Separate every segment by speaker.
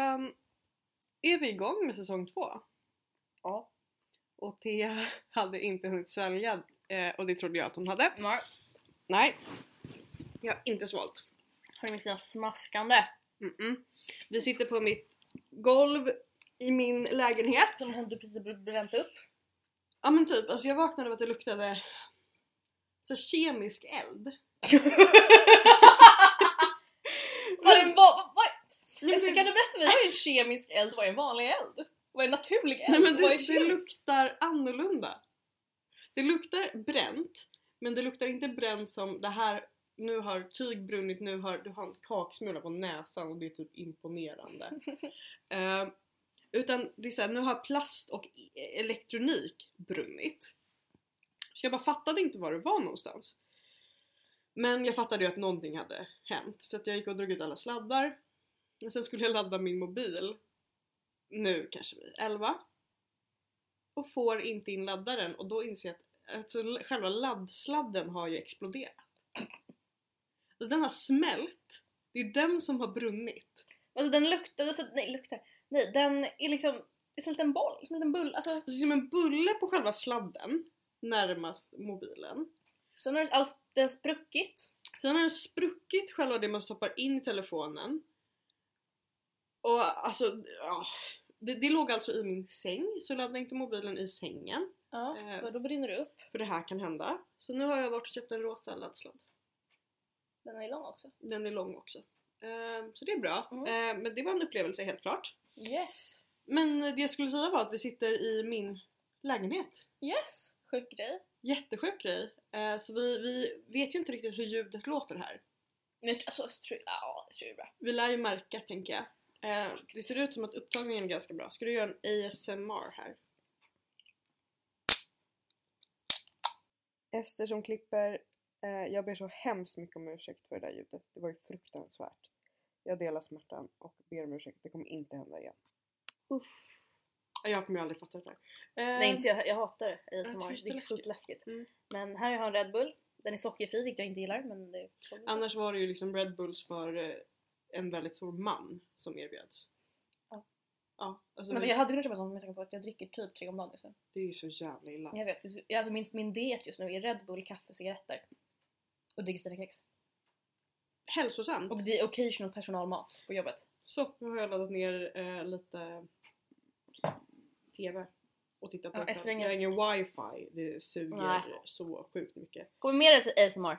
Speaker 1: ehm, är vi igång med säsong två.
Speaker 2: Ja.
Speaker 1: Och Thea hade inte hunnit svälja eh, och det trodde jag att hon hade.
Speaker 2: Nej.
Speaker 1: Nej. Jag har inte svalt.
Speaker 2: Har du mitt lilla smaskande?
Speaker 1: Mm-mm. Vi sitter på mitt golv i min lägenhet.
Speaker 2: Som hon du precis bränt upp?
Speaker 1: Ja men typ, alltså jag vaknade av att det luktade så här kemisk eld.
Speaker 2: Vad, är- vad, vad, vad,
Speaker 1: Nej, men
Speaker 2: Esse, kan
Speaker 1: det,
Speaker 2: du berätta för mig, vad är en kemisk eld? Vad är en vanlig eld? Vad är en naturlig eld?
Speaker 1: nej, men
Speaker 2: vad är
Speaker 1: det, det
Speaker 2: kemisk?
Speaker 1: luktar annorlunda. Det luktar bränt, men det luktar inte bränt som det här nu har tyg brunnit, nu har du har en kaksmula på näsan och det är typ imponerande. Eh, utan det är såhär, nu har plast och e- elektronik brunnit. Så jag bara fattade inte var det var någonstans. Men jag fattade ju att någonting hade hänt så att jag gick och drog ut alla sladdar. Och sen skulle jag ladda min mobil. Nu kanske vi 11. Och får inte in laddaren och då inser jag att alltså, l- själva laddsladden har ju exploderat. Alltså den har smält. Det är den som har brunnit.
Speaker 2: Alltså den luktar, alltså, nej luktar, nej den är liksom, det är som en liten boll, som en liten bull, alltså
Speaker 1: Alltså som en bulle på själva sladden närmast mobilen.
Speaker 2: sen har allt det har spruckit.
Speaker 1: Sen har den spruckit själva det man stoppar in i telefonen. Och alltså, ja. Det, det låg alltså i min säng så jag laddade inte mobilen i sängen.
Speaker 2: Ja,
Speaker 1: Eh.
Speaker 2: för då brinner det upp.
Speaker 1: För det här kan hända. Så nu har jag varit och köpt en rosa laddsladd.
Speaker 2: Den är lång också.
Speaker 1: Den är lång också. Ehm, så det är bra.
Speaker 2: Mm.
Speaker 1: Ehm, men det var en upplevelse helt klart.
Speaker 2: Yes!
Speaker 1: Men det jag skulle säga var att vi sitter i min lägenhet.
Speaker 2: Yes! Sjuk grej.
Speaker 1: Jättesjuk grej. Ehm, så vi, vi vet ju inte riktigt hur ljudet låter här.
Speaker 2: Men jag tror- alltså, jag tror, ja, jag tror det är bra.
Speaker 1: Vi lär ju märka tänker jag. Ehm, det ser ut som att upptagningen är ganska bra. Ska du göra en ASMR här? Ester som klipper, eh, jag ber så hemskt mycket om ursäkt för det där ljudet. Det var ju fruktansvärt. Jag delar smärtan och ber om ursäkt. Det kommer inte hända igen. Uff. Jag kommer ju aldrig fatta det där. Eh,
Speaker 2: Nej inte jag, jag hatar det.
Speaker 1: jag tycker
Speaker 2: ASMR. Det
Speaker 1: det
Speaker 2: är
Speaker 1: är
Speaker 2: sjukt läskigt.
Speaker 1: Mm.
Speaker 2: Men här har jag en Red Bull. Den är sockerfri vilket jag inte gillar men det
Speaker 1: Annars var det ju liksom Red Bulls för eh, en väldigt stor man som erbjöds.
Speaker 2: Ja.
Speaker 1: Ja, alltså
Speaker 2: Men
Speaker 1: vi-
Speaker 2: jag hade kunnat köpa sånt med tanke på att jag dricker typ tre om dagen just nu.
Speaker 1: det är ju så jävla illa.
Speaker 2: Jag vet, det är- alltså min, min diet just nu är Red Bull, kaffe, cigaretter. Och dricker sina kex.
Speaker 1: Hälsosamt.
Speaker 2: Och det är occasional personalmat på jobbet.
Speaker 1: Så, nu har jag laddat ner eh, lite TV och tittat på
Speaker 2: Ja,
Speaker 1: det.
Speaker 2: Ester har
Speaker 1: Jag har ingen wifi, det suger
Speaker 2: Nej.
Speaker 1: så sjukt mycket.
Speaker 2: Kommer med dig ASMR?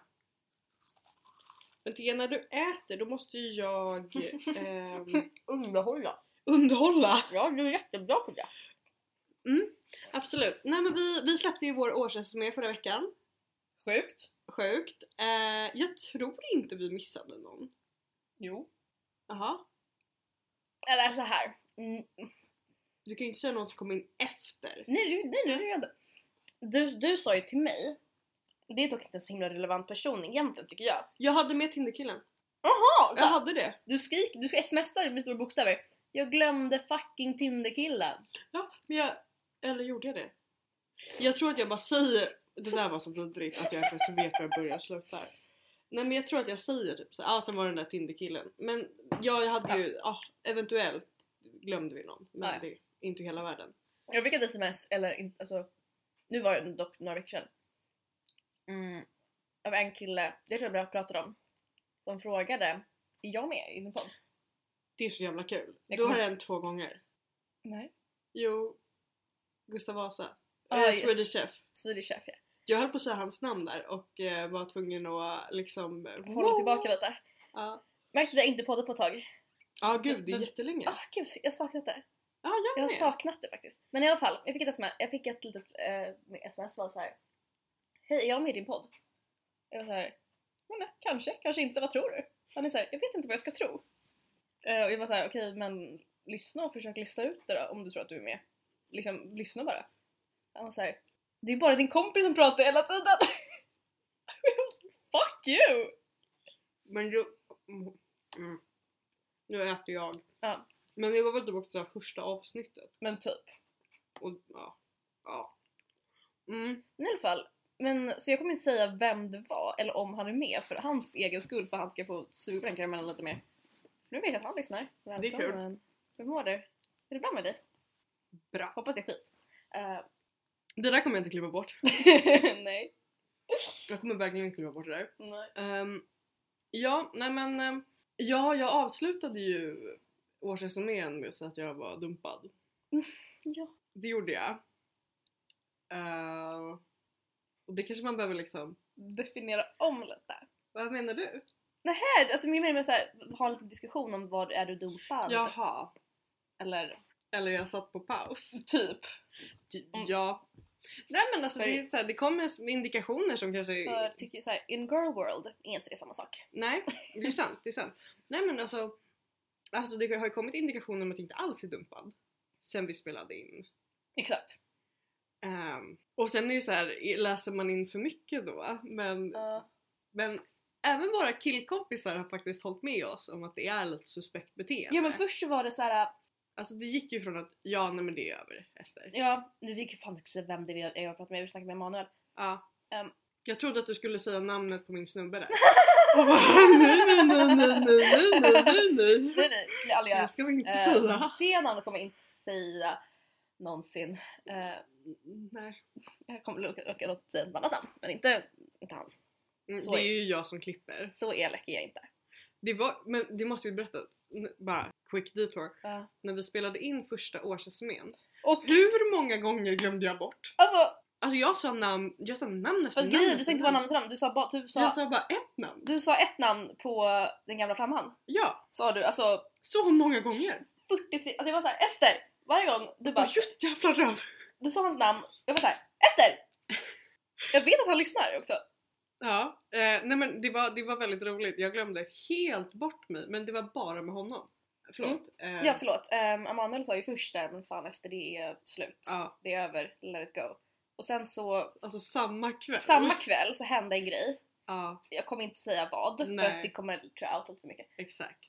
Speaker 1: Men Tia, när du äter då måste ju jag ehm,
Speaker 2: Underhålla!
Speaker 1: underhålla.
Speaker 2: Ja, du är jättebra på det!
Speaker 1: Absolut. Nej men vi, vi släppte ju vår årsresumé förra veckan.
Speaker 2: Sjukt!
Speaker 1: Sjukt. Eh, jag tror inte vi missade någon.
Speaker 2: Jo.
Speaker 1: Jaha.
Speaker 2: Eller så här. Mm,
Speaker 1: Du kan ju inte säga någon som kom in efter.
Speaker 2: Nej, du, nej, nej, nej, nej. Du, du sa ju till mig, det är dock inte en så himla relevant person egentligen tycker jag.
Speaker 1: Jag hade med Tinderkillen.
Speaker 2: Jaha!
Speaker 1: Jag hade det.
Speaker 2: Du skrik, du smsar med stora bokstäver. Jag glömde fucking Tinderkillen.
Speaker 1: Ja, men jag... Eller gjorde jag det? Jag tror att jag bara säger... Det där var så vidrigt att jag inte ens vet var jag börjar och slutar. Nej men jag tror att jag säger typ så ja ah, sen var det den där Tinderkillen. Men ja, jag hade ju, ja eventuellt glömde vi någon. Men
Speaker 2: Ja, ja.
Speaker 1: det är inte hela världen.
Speaker 2: Jag fick ett sms, eller inte, alltså, nu var det dock några veckor sedan. Mm, av en kille, det tror jag jag pratade om, som frågade, är jag med i din podd?
Speaker 1: Det är så jävla kul.
Speaker 2: Jag
Speaker 1: Du har
Speaker 2: kommer
Speaker 1: hänt två gånger.
Speaker 2: Nej.
Speaker 1: Jo, Gustav Vasa.
Speaker 2: Ja,
Speaker 1: eh,
Speaker 2: ja.
Speaker 1: Swedish Chef.
Speaker 2: Swedish Chef ja.
Speaker 1: Jag höll på att säga hans namn där och eh, var tvungen att liksom...
Speaker 2: Hålla tillbaka lite.
Speaker 1: Ja,
Speaker 2: Märkte att jag inte poddat på ett tag.
Speaker 1: Ja, gud det är
Speaker 2: Men-
Speaker 1: jättelänge.
Speaker 2: Ah, gud, jag har saknat det.
Speaker 1: Ja, jag
Speaker 2: Jag har
Speaker 1: med.
Speaker 2: saknat det faktiskt. Men i alla fall, jag fick ett sms, jag fick ett litet eh, sms som var så här. Hej, är jag med i din podd? Jag var så här, "Men nej, kanske, kanske inte, vad tror du? Han är så här, jag vet inte vad jag ska tro. Eh, och jag var så här, okej men lyssna och försök lista ut det då om du tror att du är med. Liksom, lyssna bara. Han var så här, det är bara din kompis som pratar hela tiden. Jag var så här, Fuck you!
Speaker 1: Men du... Mm. Mm. Nu äter jag.
Speaker 2: Ja.
Speaker 1: Men det var väl typ också det här första avsnittet.
Speaker 2: Men typ.
Speaker 1: Och ja. ja. Mm.
Speaker 2: Men i alla fall, men, så jag kommer inte säga vem det var eller om han är med för hans egen skull för han ska få suga på den karamellen lite mer. Nu vet jag att han lyssnar.
Speaker 1: är kul.
Speaker 2: Välkommen. Hur mår du? Är det bra med dig?
Speaker 1: Bra.
Speaker 2: Hoppas det är skit. Eh,
Speaker 1: Det där kommer jag inte klippa bort.
Speaker 2: nej.
Speaker 1: Jag kommer verkligen inte klippa bort det där.
Speaker 2: nej.
Speaker 1: Ehm, ja, nej men. ehm, ja, jag avslutade ju årsresumén med att säga att jag var dumpad.
Speaker 2: Ja.
Speaker 1: Det gjorde jag. Ehm, och det kanske man behöver liksom.
Speaker 2: Definiera om lite.
Speaker 1: Vad menar du?
Speaker 2: Nej, alltså min mening är såhär, ha en liten diskussion om vad är du dumpad?
Speaker 1: Jaha.
Speaker 2: Eller
Speaker 1: Eller jag satt på paus.
Speaker 2: typ. Mm.
Speaker 1: Ja. Nej men alltså
Speaker 2: För-
Speaker 1: det, är så här, det kommer indikationer som kanske...
Speaker 2: För jag tycker ju såhär, in girl world är inte det samma sak.
Speaker 1: Nej, det är sant. Det är sant. Nej men alltså, alltså det har ju kommit indikationer om att jag inte alls är dumpad. Sen vi spelade in.
Speaker 2: Exakt.
Speaker 1: Ehm, och sen är det så här, läser man in för mycket då? Men, men även våra killkompisar har faktiskt hållit med oss om att det är lite suspekt beteende.
Speaker 2: ja men först så var det såhär,
Speaker 1: Alltså det gick ju från att ja nej men det är över Ester.
Speaker 2: ja nu vi kan fan inte säga vem det är jag har pratat med, vi snackade med Emanuel.
Speaker 1: Ja.
Speaker 2: Ehm.
Speaker 1: Jag trodde att du skulle säga namnet på min snubbe där. Och bara, nej, nej, nej, nej, nej, nej, nej, nej.
Speaker 2: Nej nej, det skulle jag aldrig göra.
Speaker 1: Det ska vi inte
Speaker 2: Eh,
Speaker 1: säga.
Speaker 2: det namnet kommer jag inte säga någonsin. Eh,
Speaker 1: Nej.
Speaker 2: jag kommer råka- råka säga ett annat namn, men inte, inte hans.
Speaker 1: Mm,
Speaker 2: så
Speaker 1: det
Speaker 2: är-
Speaker 1: är ju jag som klipper.
Speaker 2: Så elak är jag inte.
Speaker 1: Det var, men det måste vi berätta. N- Bara quick detour.
Speaker 2: Ja.
Speaker 1: När vi spelade in första årsresumén.
Speaker 2: Och
Speaker 1: Hur många gånger glömde jag bort?
Speaker 2: alltså,
Speaker 1: Alltså jag sa namn, jag sa namn efter
Speaker 2: fast
Speaker 1: namn.
Speaker 2: grejen är, du
Speaker 1: efter
Speaker 2: sa inte bara namn till namn, du sa bara, du sa,
Speaker 1: Jag sa bara ett namn.
Speaker 2: du sa ett namn på den gamla framhand.
Speaker 1: Ja,
Speaker 2: Sa du alltså
Speaker 1: så många gånger.
Speaker 2: 43, alltså jag var såhär Ester! Varje gång du bara,
Speaker 1: Bara, just jävla röv.
Speaker 2: du sa hans namn, jag var såhär Ester! Jag vet att han lyssnar också.
Speaker 1: Mm. Ja, eh, nej men det var, det var väldigt roligt. Jag glömde helt bort mig men det var bara med honom. Förlåt. Eh,
Speaker 2: Ja förlåt, um, Emanuel sa ju först där men fan Ester det är slut.
Speaker 1: ja,
Speaker 2: Det är över, let it go. Och sen så,
Speaker 1: alltså samma kväll.
Speaker 2: samma kväll så hände en grej.
Speaker 1: Ja,
Speaker 2: Jag kommer inte säga vad
Speaker 1: Nej.
Speaker 2: för att det kommer tror jag outa lite för mycket.
Speaker 1: exakt.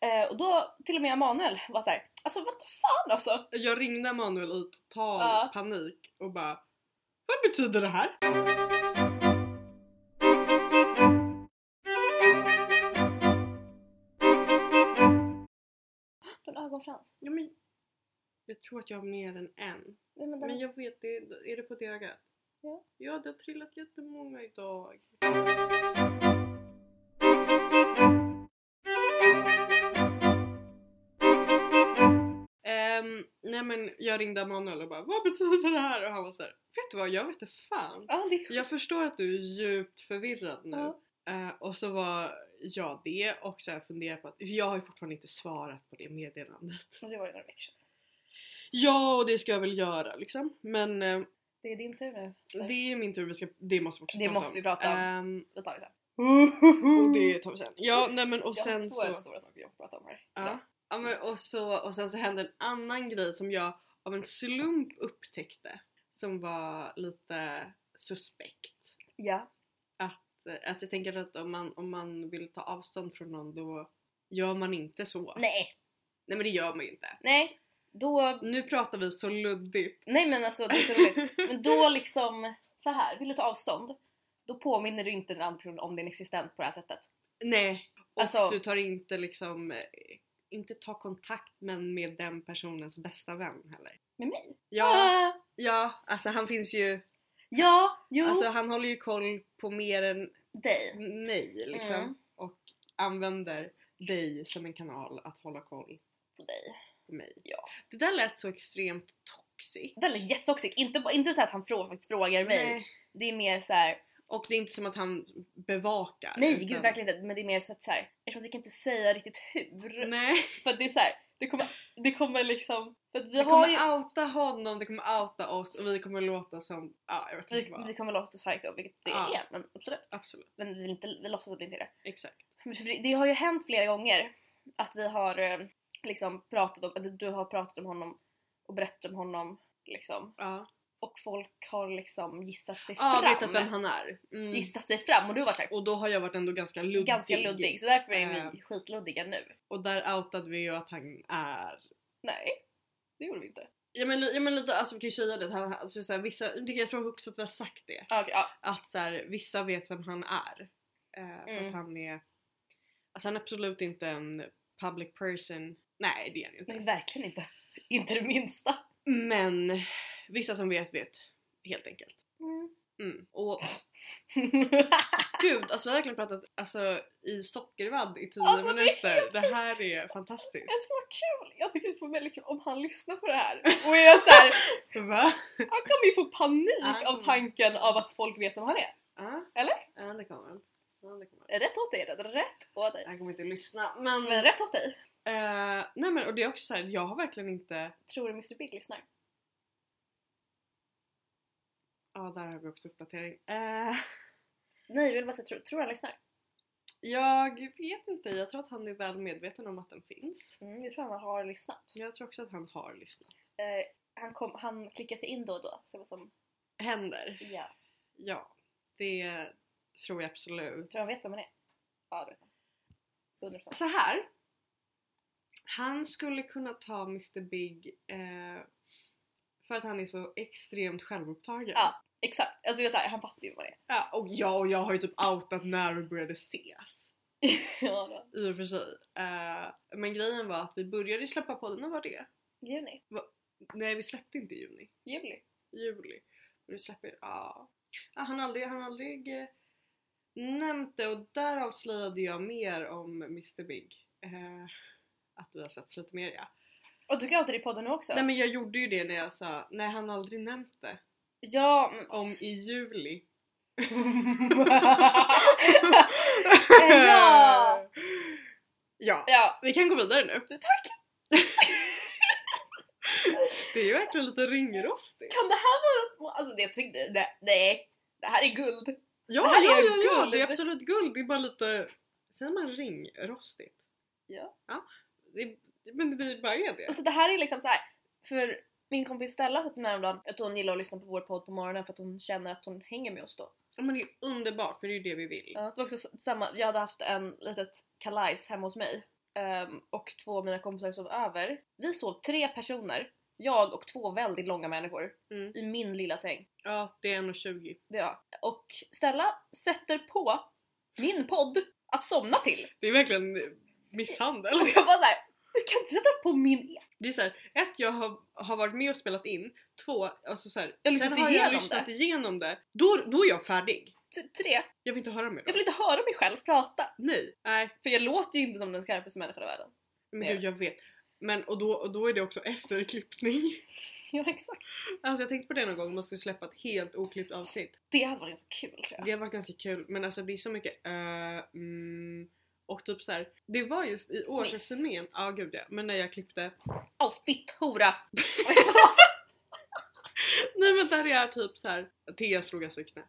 Speaker 2: Eh, och då till och med Emanuel var såhär alltså vad fan alltså!
Speaker 1: Jag ringde Manuel i total
Speaker 2: Ja.
Speaker 1: panik och bara Vad betyder det här?
Speaker 2: Du har en ögonfrans.
Speaker 1: Ja, men, jag tror att jag har mer än en.
Speaker 2: Nej, men den...
Speaker 1: Men jag vet, det, är det på det ögat?
Speaker 2: Ja.
Speaker 1: Ja, det har trillat jättemånga idag. Ehm, nej men jag ringde Manuel och bara Vad betyder det här? Och han var såhär Vet du vad? Jag vet inte fan.
Speaker 2: Ja, det är...
Speaker 1: Jag förstår att du är djupt förvirrad nu.
Speaker 2: Ja.
Speaker 1: Eh, och så var jag det och så har jag funderat på att jag har ju fortfarande inte svarat på det meddelandet.
Speaker 2: Och det var ju några veckor sedan.
Speaker 1: Ja, och det ska jag väl göra liksom. Men eh,
Speaker 2: Det är din tur nu.
Speaker 1: det är min tur, vi ska, det måste vi också
Speaker 2: Det
Speaker 1: prata
Speaker 2: måste
Speaker 1: om.
Speaker 2: vi prata om.
Speaker 1: Ehm,
Speaker 2: Då tar vi sen.
Speaker 1: och det tar vi sen. Ja, nej men och
Speaker 2: jag har
Speaker 1: sen
Speaker 2: två
Speaker 1: så...
Speaker 2: stora saker jag pratar om här.
Speaker 1: Ja. Ja, men, och, så, och sen så hände en annan grej som jag av en slump upptäckte. Som var lite suspekt.
Speaker 2: ja.
Speaker 1: Eh, Att jag tänker att om man, om man vill ta avstånd från någon då gör man inte så.
Speaker 2: Nej,
Speaker 1: Nej men det gör man ju inte.
Speaker 2: nej. Då,
Speaker 1: Nu pratar vi så luddigt.
Speaker 2: nej men alltså det är så roligt. Men då liksom, så här, vill du ta avstånd? Då påminner du inte den andra personen om din existens på det här sättet.
Speaker 1: Nej. Och
Speaker 2: Alltså-
Speaker 1: du tar inte liksom, eh, inte ta kontakt men med den personens bästa vän heller.
Speaker 2: Med mig?
Speaker 1: Ja,
Speaker 2: Ah,
Speaker 1: ja alltså han finns ju,
Speaker 2: ja, jo,
Speaker 1: alltså han håller ju koll på mer än
Speaker 2: dig.
Speaker 1: mig liksom.
Speaker 2: Mm.
Speaker 1: Och använder dig som en kanal att hålla koll
Speaker 2: På dig.
Speaker 1: på mig.
Speaker 2: Ja.
Speaker 1: Det där lät så extremt toxic.
Speaker 2: Den är jättetoxic. Inte, bara- inte så att han frå, faktiskt frågar mig.
Speaker 1: Nej.
Speaker 2: Det är mer så här.
Speaker 1: Och det är inte som att han bevakar.
Speaker 2: nej
Speaker 1: utan-
Speaker 2: gud verkligen inte. Men det är mer så att så här, eftersom vi kan inte säga riktigt hur.
Speaker 1: Nej,
Speaker 2: För att det är så här, det kommer, det kommer liksom. För att vi
Speaker 1: det
Speaker 2: har
Speaker 1: kommer
Speaker 2: ju
Speaker 1: outa honom, det kommer outa oss och vi kommer låta som, ja jag vet inte
Speaker 2: vi,
Speaker 1: vad.
Speaker 2: vi kommer låta psycho vilket det
Speaker 1: Ja.
Speaker 2: är men absolut.
Speaker 1: Absolut,
Speaker 2: Men vi, vill inte, vi låtsas att vi inte är det.
Speaker 1: exakt.
Speaker 2: Men för Det det har ju hänt flera gånger att vi har eh, liksom pratat om, eller du har pratat om honom och berättat om honom liksom.
Speaker 1: Ja,
Speaker 2: Och folk har liksom gissat sig
Speaker 1: ja
Speaker 2: fram.
Speaker 1: vetat vem han är. Mm.
Speaker 2: Gissat sig fram och du var såhär
Speaker 1: Och då har jag varit ändå ganska luddig.
Speaker 2: ganska luddig så därför är
Speaker 1: Eh.
Speaker 2: vi skitluddiga nu.
Speaker 1: Och där outade vi ju att han är
Speaker 2: Nej, det gjorde vi inte.
Speaker 1: Ja men, li- ja, men lite, alltså vi kan ju säga det, att han, alltså, så här, vissa, det- jag tror också att vi har sagt det.
Speaker 2: Ah, okej, ja.
Speaker 1: Att så här, vissa vet vem han är. Eh, för
Speaker 2: Mm.
Speaker 1: att han är, alltså han är absolut inte en public person. Nej det är han ju inte.
Speaker 2: Nej verkligen inte. Inte det minsta. Mm.
Speaker 1: Men vissa som vet vet helt enkelt. Mm. Och gud, alltså vi har verkligen pratat alltså, i sockervadd i tio
Speaker 2: Alltså, det är
Speaker 1: minuter. Det, här är fantastiskt.
Speaker 2: Jag tror det var kul! Jag tycker det skulle vara väldigt kul om han lyssnar på det här. Och jag så här,
Speaker 1: Va?
Speaker 2: han kommer ju få panik
Speaker 1: Han
Speaker 2: av
Speaker 1: kommer-
Speaker 2: tanken av att folk vet vem han är.
Speaker 1: Ja.
Speaker 2: Eller?
Speaker 1: Ja, det kommer han. Ja, det kommer han.
Speaker 2: Rätt åt dig, rätt, rätt åt dig.
Speaker 1: Han kommer inte lyssna men...
Speaker 2: Men rätt åt dig.
Speaker 1: Eh, nej men och det är också så här, jag har verkligen inte...
Speaker 2: Tror du Mr Big lyssnar?
Speaker 1: Ja, där har vi också uppdatering. Eh,
Speaker 2: Nej, jag vill bara säga, tror, tror han lyssnar?
Speaker 1: jag vet inte, jag tror att han är väl medveten om att den finns.
Speaker 2: Mm, jag tror han har lyssnat.
Speaker 1: Jag tror också att han har lyssnat.
Speaker 2: Eh, han, kom, han klickar sig in då och då. Så jag var som,
Speaker 1: Händer.
Speaker 2: ja.
Speaker 1: Ja, det tror jag absolut.
Speaker 2: Tror han vet vem han är? Ja, det vet han. 100%.
Speaker 1: Så här. Han skulle kunna ta Mr Big eh, för att han är så extremt självupptagen.
Speaker 2: Ja. Exakt, alltså vet du, han fattar ju vad det är.
Speaker 1: Ja, och jag och jag har ju typ outat när vi började ses.
Speaker 2: ja, då.
Speaker 1: I och för sig. Eh, men grejen var att vi började släppa podden, när var det?
Speaker 2: Juni?
Speaker 1: Nej vi släppte inte i juni,
Speaker 2: Juli?
Speaker 1: i juli. Men vi släpper, ja. ja han har aldrig, han har aldrig eh, nämnt det och där avslöjade jag mer om Mr Big. Eh, att vi har sett lite mer ja.
Speaker 2: Och du gav det i podden nu också?
Speaker 1: Nej men jag gjorde ju det när jag sa, nej han har aldrig nämnt det.
Speaker 2: Ja, mm, men...
Speaker 1: Om i juli.
Speaker 2: ja!
Speaker 1: ja!
Speaker 2: Ja,
Speaker 1: Vi kan gå vidare nu. Tack! det är ju verkligen lite ringrostigt.
Speaker 2: kan det här vara... Alltså det jag tyckte... Nej, nej. Det här är guld.
Speaker 1: Ja,
Speaker 2: Det här
Speaker 1: ja,
Speaker 2: är
Speaker 1: ja, ja, det är
Speaker 2: guld.
Speaker 1: absolut guld. Det är bara lite... Säger man ringrostigt?
Speaker 2: Ja.
Speaker 1: ja. Det, men vi bara är det.
Speaker 2: Alltså det här är liksom så här. för min kompis Stella satt med häromdagen att hon gillar att lyssna på vår podd på morgonen för att hon känner att hon hänger med oss då.
Speaker 1: Ja, Men det är ju underbart för det är ju det vi vill.
Speaker 2: Ja, Det var också s- samma, jag hade haft en litet kalajs hemma hos mig ehm, och två av mina kompisar sov över. Vi sov tre personer, jag och två väldigt långa människor
Speaker 1: Mm.
Speaker 2: i min lilla säng.
Speaker 1: Ja, det är 1,20.
Speaker 2: Det är jag. Och Stella sätter på min podd att somna till.
Speaker 1: Det är verkligen misshandel.
Speaker 2: Och jag bara såhär, du kan inte sätta på min e-"
Speaker 1: Det är såhär, ett jag har, har varit med och spelat in, två, alltså så här,
Speaker 2: Jag har lyssnat
Speaker 1: sen har jag
Speaker 2: igenom
Speaker 1: lyssnat
Speaker 2: det.
Speaker 1: igenom det. Då, då är jag färdig.
Speaker 2: Typ tre,
Speaker 1: Jag vill inte höra mer då.
Speaker 2: jag vill inte höra mig själv prata.
Speaker 1: Nej, nej.
Speaker 2: För jag låter ju inte som den skarpaste människan i världen.
Speaker 1: Men
Speaker 2: Nej.
Speaker 1: gud jag vet. Men och då, och då är det också efter klippning.
Speaker 2: Ja exakt.
Speaker 1: Alltså jag tänkte på det någon gång om man skulle släppa ett helt oklippt avsnitt.
Speaker 2: Det hade varit ganska kul tror jag.
Speaker 1: Det har varit ganska kul men alltså det är så mycket eh, mm, och typ så här. det var just i årsresumén, ja ah, gud ja, men när jag klippte.
Speaker 2: Åh fitthora!
Speaker 1: Nej men där det är typ så här. Thea slog alltså i knät.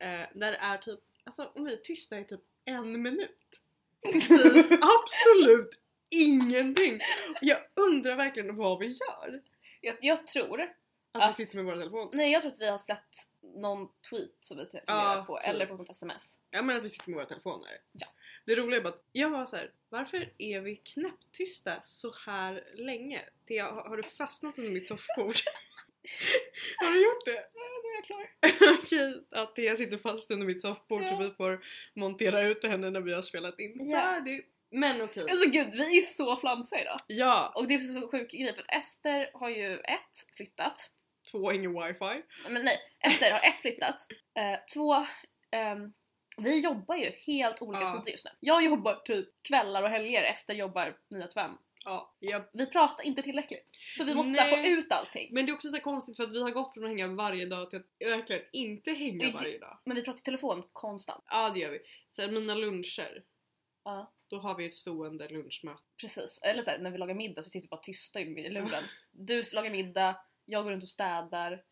Speaker 1: Eh, där det är typ, alltså om vi är tysta i typ en minut. Precis, absolut ingenting! Jag undrar verkligen vad vi gör.
Speaker 2: jag, jag tror,
Speaker 1: Att
Speaker 2: Att-
Speaker 1: vi sitter med våra telefoner.
Speaker 2: nej jag tror att vi har sett någon tweet som vi funderar på
Speaker 1: typ.
Speaker 2: eller fått något sms.
Speaker 1: Jag menar att vi sitter med våra telefoner.
Speaker 2: Ja.
Speaker 1: Det roliga är bara att jag var så här. varför är vi knäpptysta så här länge? Thea, har har du fastnat under mitt soffbord? har du gjort det?
Speaker 2: Ja, då är jag klar.
Speaker 1: Okej, att Thea sitter fast under mitt soffbord
Speaker 2: Ja.
Speaker 1: så vi får montera ut henne när vi har spelat in
Speaker 2: Ja.
Speaker 1: färdigt. Men okej.
Speaker 2: Alltså gud vi är så flamsiga idag.
Speaker 1: Ja,
Speaker 2: Och det är så sjuk grej för att Ester har ju ett flyttat.
Speaker 1: två ingen wifi.
Speaker 2: Men nej, Ester har ett flyttat. Eh, två, ehm, vi jobbar ju helt olika
Speaker 1: Ja.
Speaker 2: tider just nu. Jag jobbar typ kvällar och helger, Ester jobbar 9 till 5.
Speaker 1: Ja, japp.
Speaker 2: Vi pratar inte tillräckligt. Så vi måste så här, få
Speaker 1: Nej.
Speaker 2: ut allting.
Speaker 1: Men det är också så här konstigt för att vi har gått från att hänga varje dag till att verkligen inte hänga
Speaker 2: Det-
Speaker 1: varje dag.
Speaker 2: Men vi pratar i telefon konstant.
Speaker 1: Ja det gör vi. Sen mina luncher,
Speaker 2: Ja.
Speaker 1: då har vi ett stående lunchmöte.
Speaker 2: Precis. Eller så här, när vi lagar middag så sitter vi bara tysta i luren. Du lagar middag, jag går runt och städar,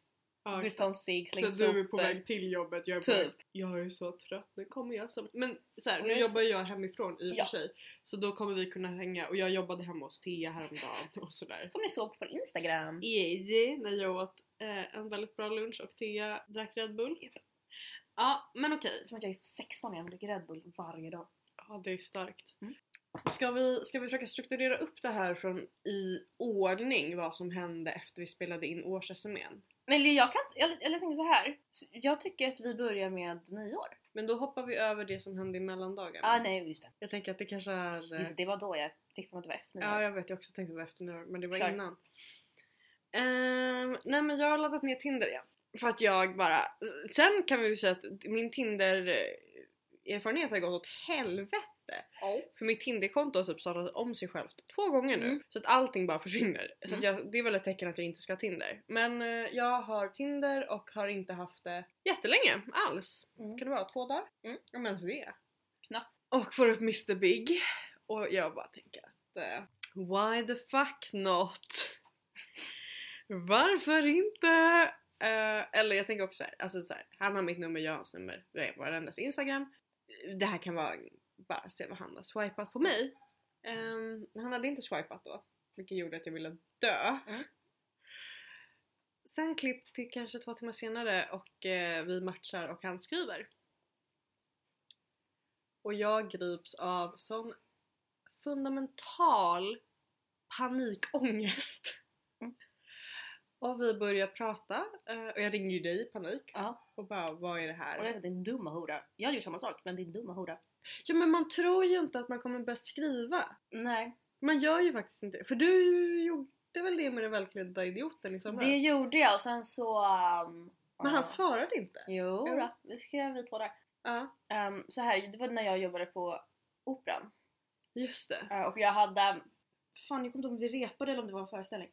Speaker 1: Ja,
Speaker 2: går ut och tar en cigg, slänger
Speaker 1: Så du är på
Speaker 2: sopor.
Speaker 1: väg till jobbet, jag är, på
Speaker 2: Liksom, Typ.
Speaker 1: väg, jag är så trött, nu kommer jag som... Men så här,
Speaker 2: Och
Speaker 1: nu
Speaker 2: jag är så-
Speaker 1: jobbar jag hemifrån i och
Speaker 2: Ja.
Speaker 1: för sig så då kommer vi kunna hänga och jag jobbade hemma hos Thea häromdagen och sådär.
Speaker 2: Som ni såg på Instagram.
Speaker 1: Eje, när jag åt eh, en väldigt bra lunch och Thea drack Red Bull. Ja men okej,
Speaker 2: Som att jag är 16 när jag dricker Red Bull varje dag.
Speaker 1: ja, det är starkt.
Speaker 2: Mm.
Speaker 1: Ska vi, ska vi försöka strukturera upp det här från i ordning vad som hände efter vi spelade in årsresumén?
Speaker 2: Men jag kan eller, eller jag tänker så här. Så Jag tycker att vi börjar med nyår.
Speaker 1: Men då hoppar vi över det som hände i mellandagarna.
Speaker 2: Ah nej Mm. just det.
Speaker 1: Jag tänker att det kanske är... eh,
Speaker 2: Just det, det var då jag fick för mig att det var efter nyår.
Speaker 1: Ja jag vet, jag också tänkte på efter nu men det var
Speaker 2: Kör.
Speaker 1: innan. Ehm, nej men jag har laddat ner Tinder igen. För att jag bara... Sen kan vi ju säga att min Tinder-erfarenhet har gått åt helvete. För mitt Tinder-konto har typ startat om sig självt två gånger nu.
Speaker 2: Mm.
Speaker 1: Så att allting bara försvinner. Så
Speaker 2: Mm.
Speaker 1: att jag, det är väl ett tecken att jag inte ska ha Tinder. Men eh, jag har Tinder och har inte haft det jättelänge alls.
Speaker 2: Mm.
Speaker 1: Kan det vara två dagar?
Speaker 2: Mm.
Speaker 1: Om ens det.
Speaker 2: Knappt.
Speaker 1: Och får upp Mr Big. Och jag bara tänker att eh, why the fuck not? Varför inte? Eh, eller jag tänker också så här, alltså så här, han har mitt nummer, jag har hans nummer, vi är på varandras instagram. Det här kan vara bara se vad han har swipat på mig. Ehm, han hade inte swipat då, vilket gjorde att jag ville dö.
Speaker 2: Mm.
Speaker 1: Sen klipp till kanske två timmar senare och eh, vi matchar och han skriver. Och jag grips av sån fundamental panikångest.
Speaker 2: Mm.
Speaker 1: Och vi börjar prata eh, och jag ringer ju dig i panik
Speaker 2: Ja.
Speaker 1: och bara vad är det här?
Speaker 2: Och jag vet att din dumma hora. Jag gör samma sak men din dumma hora.
Speaker 1: Ja men man tror ju inte att man kommer börja skriva.
Speaker 2: Nej.
Speaker 1: Man gör ju faktiskt inte det. För du gjorde väl det med den välklädda idioten i somras?
Speaker 2: Det gjorde jag och sen så... ehm,
Speaker 1: Men han
Speaker 2: ja.
Speaker 1: svarade inte.
Speaker 2: Jo,
Speaker 1: Jo.
Speaker 2: då. vi skrev vi två där.
Speaker 1: Ja,
Speaker 2: Ehm, så här, det var när jag jobbade på Operan.
Speaker 1: just det.
Speaker 2: Eh, Och jag hade... Fan jag kommer inte ihåg om vi repade eller om det var en föreställning.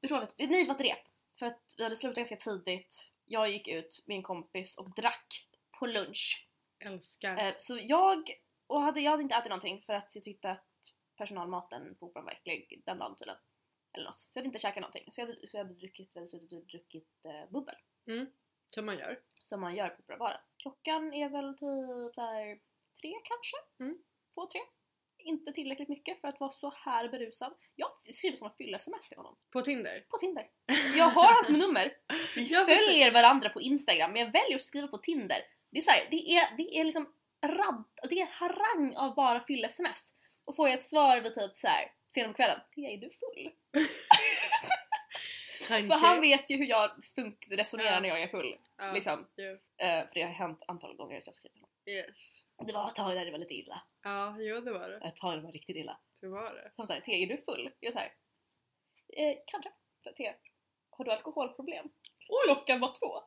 Speaker 2: Jag tror att, nej det var ett rep. För att vi hade slutat ganska tidigt. Jag gick ut med en kompis och drack på lunch.
Speaker 1: Älskar.
Speaker 2: Eh, Så jag, och hade, jag hade inte ätit någonting för att jag tyckte att personalmaten på Operan var äcklig den dagen tydligen. Eller något. Så jag hade inte käkat någonting. Så jag hade, så jag hade druckit, eller suttit och druckit eh, bubbel.
Speaker 1: Som man gör.
Speaker 2: Som man gör på Operabaren. Klockan är väl typ där tre kanske?
Speaker 1: Mm.
Speaker 2: Två, tre. Inte tillräckligt mycket för att vara så här berusad. Jag skriver såna fylla-sms till honom.
Speaker 1: På Tinder.
Speaker 2: På Tinder. Jag har hans nummer. Vi
Speaker 1: Ja, precis.
Speaker 2: följer varandra på Instagram men jag väljer att skriva på Tinder. Det är så här, det är, det är liksom rad, det är harang av bara fylla-sms. Och får jag ett svar vid typ så här sen om kvällen. Tia är du full?
Speaker 1: Kanske.
Speaker 2: För han vet ju hur jag funk- resonerar
Speaker 1: Ja.
Speaker 2: när jag är full.
Speaker 1: Ja,
Speaker 2: Liksom.
Speaker 1: jo.
Speaker 2: Eh, för det har hänt antal gånger att jag har skrivit till honom.
Speaker 1: Yes.
Speaker 2: Det var ett tag där det var lite illa.
Speaker 1: Ja, jo det var det.
Speaker 2: Ett tag det var riktigt illa.
Speaker 1: Det var det.
Speaker 2: Som såhär, T är du full? Jag såhär, eh, kanske. Så, T, har du alkoholproblem? Klockan var två.